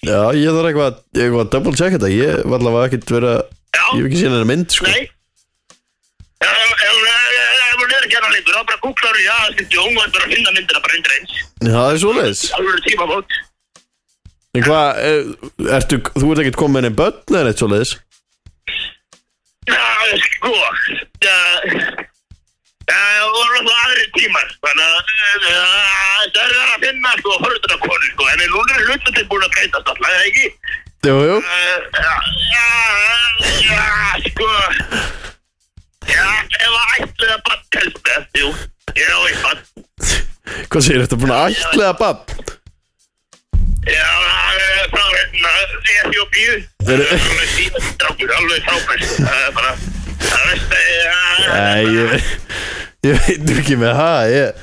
[SPEAKER 5] Já, ég þarf eitthvað að- eitthvað að double check þetta Ég var allavega ekkert verið að
[SPEAKER 8] Já.
[SPEAKER 5] Ég hef ekki séð hennar mynd sko
[SPEAKER 8] Nei Ef hún er ekki hérna lengur, þá bara googlar já, þetta er óvægt bara að finna myndina bara undir eins.
[SPEAKER 5] Já, Það er svoleiðis
[SPEAKER 8] Alveg tíma fót.
[SPEAKER 5] En hvað, er- ertu, þú ert ekkert komið með einn börn eða neitt svoleiðis
[SPEAKER 8] Já, sko, já, það voru náttúrulega aðri tímar, þannig að eh, það er að finna, sko, forutuna konu, sko, en núna er hlutin búin að breytast alltaf, eða ekki?
[SPEAKER 5] Jú, jú
[SPEAKER 8] Eh, Já, já, já, sko, já, ef að ætlaði að bann telst með, jú, ég á eitt bann.
[SPEAKER 5] Hvað segir, ertu búin að ætla að bann?
[SPEAKER 8] Já, það er frá hérna, ég Namibíu Það er alveg síðan strákur, alveg frábært Það er bara Það er veist
[SPEAKER 5] Æ, ég, ég veit nú ekki með það ég,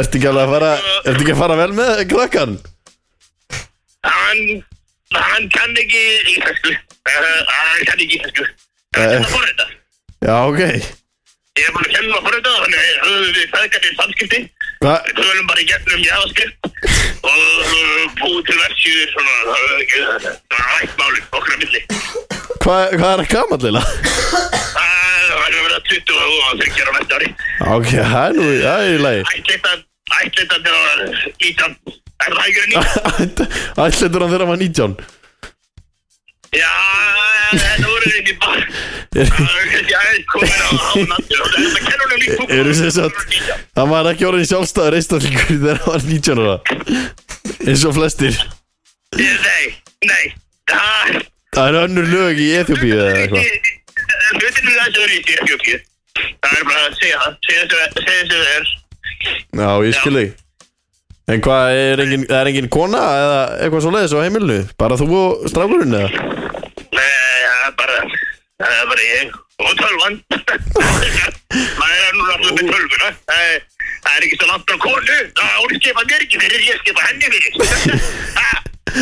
[SPEAKER 5] Ertu ekki alveg að fara Ertu ekki að fara vel með krakkan?
[SPEAKER 8] Hann Hann kann ekki íslensku Eh, Hann kann ekki íslensku Það er að forrita
[SPEAKER 5] Já, ok
[SPEAKER 8] Ég er búin að kenna að forrita Þannig að höfum við feðgatið samskipti
[SPEAKER 5] Hva?
[SPEAKER 8] Við tölum bara í gegnum JavaScript og uh, búið til versjúður svona, það var rætt málum okkur að milli.
[SPEAKER 5] Hva, Hvað er að gama lilla?
[SPEAKER 8] Það verður að vera 20 og 30 ára næsta ári.
[SPEAKER 5] Ok, það er nú Það er í lagi
[SPEAKER 8] Ætlita til að vera 19. Er það ekki verið 19?
[SPEAKER 5] Ætlendur hann þegar hann var 19
[SPEAKER 8] Já, þetta voru við ekki bara. Það er kannski aðeins komin á náttu og þetta kennur hún líka.
[SPEAKER 5] Eru sem sagt Hann var ekki orðin sjálfstæður einstaklingur þegar hann var 19 ára Eins og flestir
[SPEAKER 8] Nei, nei. Það
[SPEAKER 5] Það eru önnur lög í Eþjóbíu eða eitthvað
[SPEAKER 8] Hlutinu þessu eru í Sýrkjókju. Það er bara að segja það, segja þessu það er.
[SPEAKER 5] Já, ég skil þig En hvað, er engin, það er engin kona eða eitthvað svo leiðis á heimilinu? Bara þú og strákurinn eða?
[SPEAKER 8] Nei, það er bara, það er bara ég og tölvan. Maður er nú náttúrulega með tölvuna. Það er- það er ekki svo langt á konu. Það er skipa mér ekki fyrir, ég skipa henni fyrir. Ha,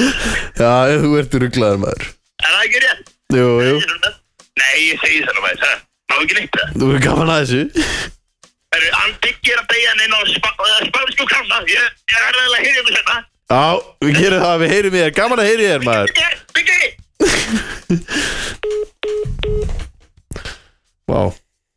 [SPEAKER 5] Já, þú ert rugglaður maður
[SPEAKER 8] Er það ekki rétt?
[SPEAKER 5] Jú, jú,
[SPEAKER 8] Segir þú það? Nei, ég segi það nú maður, það má ekki neitt það.
[SPEAKER 5] þú er gaman að þessu
[SPEAKER 8] Það er andbyggir að beigja hann inn á spánsku kanna. Ég ég er erðilega að hérna. hýrja mig þetta.
[SPEAKER 5] Já, við gerum það, við heyrum í þér, gaman að heyri þér maður
[SPEAKER 8] Byggi, byggi!
[SPEAKER 5] Vá,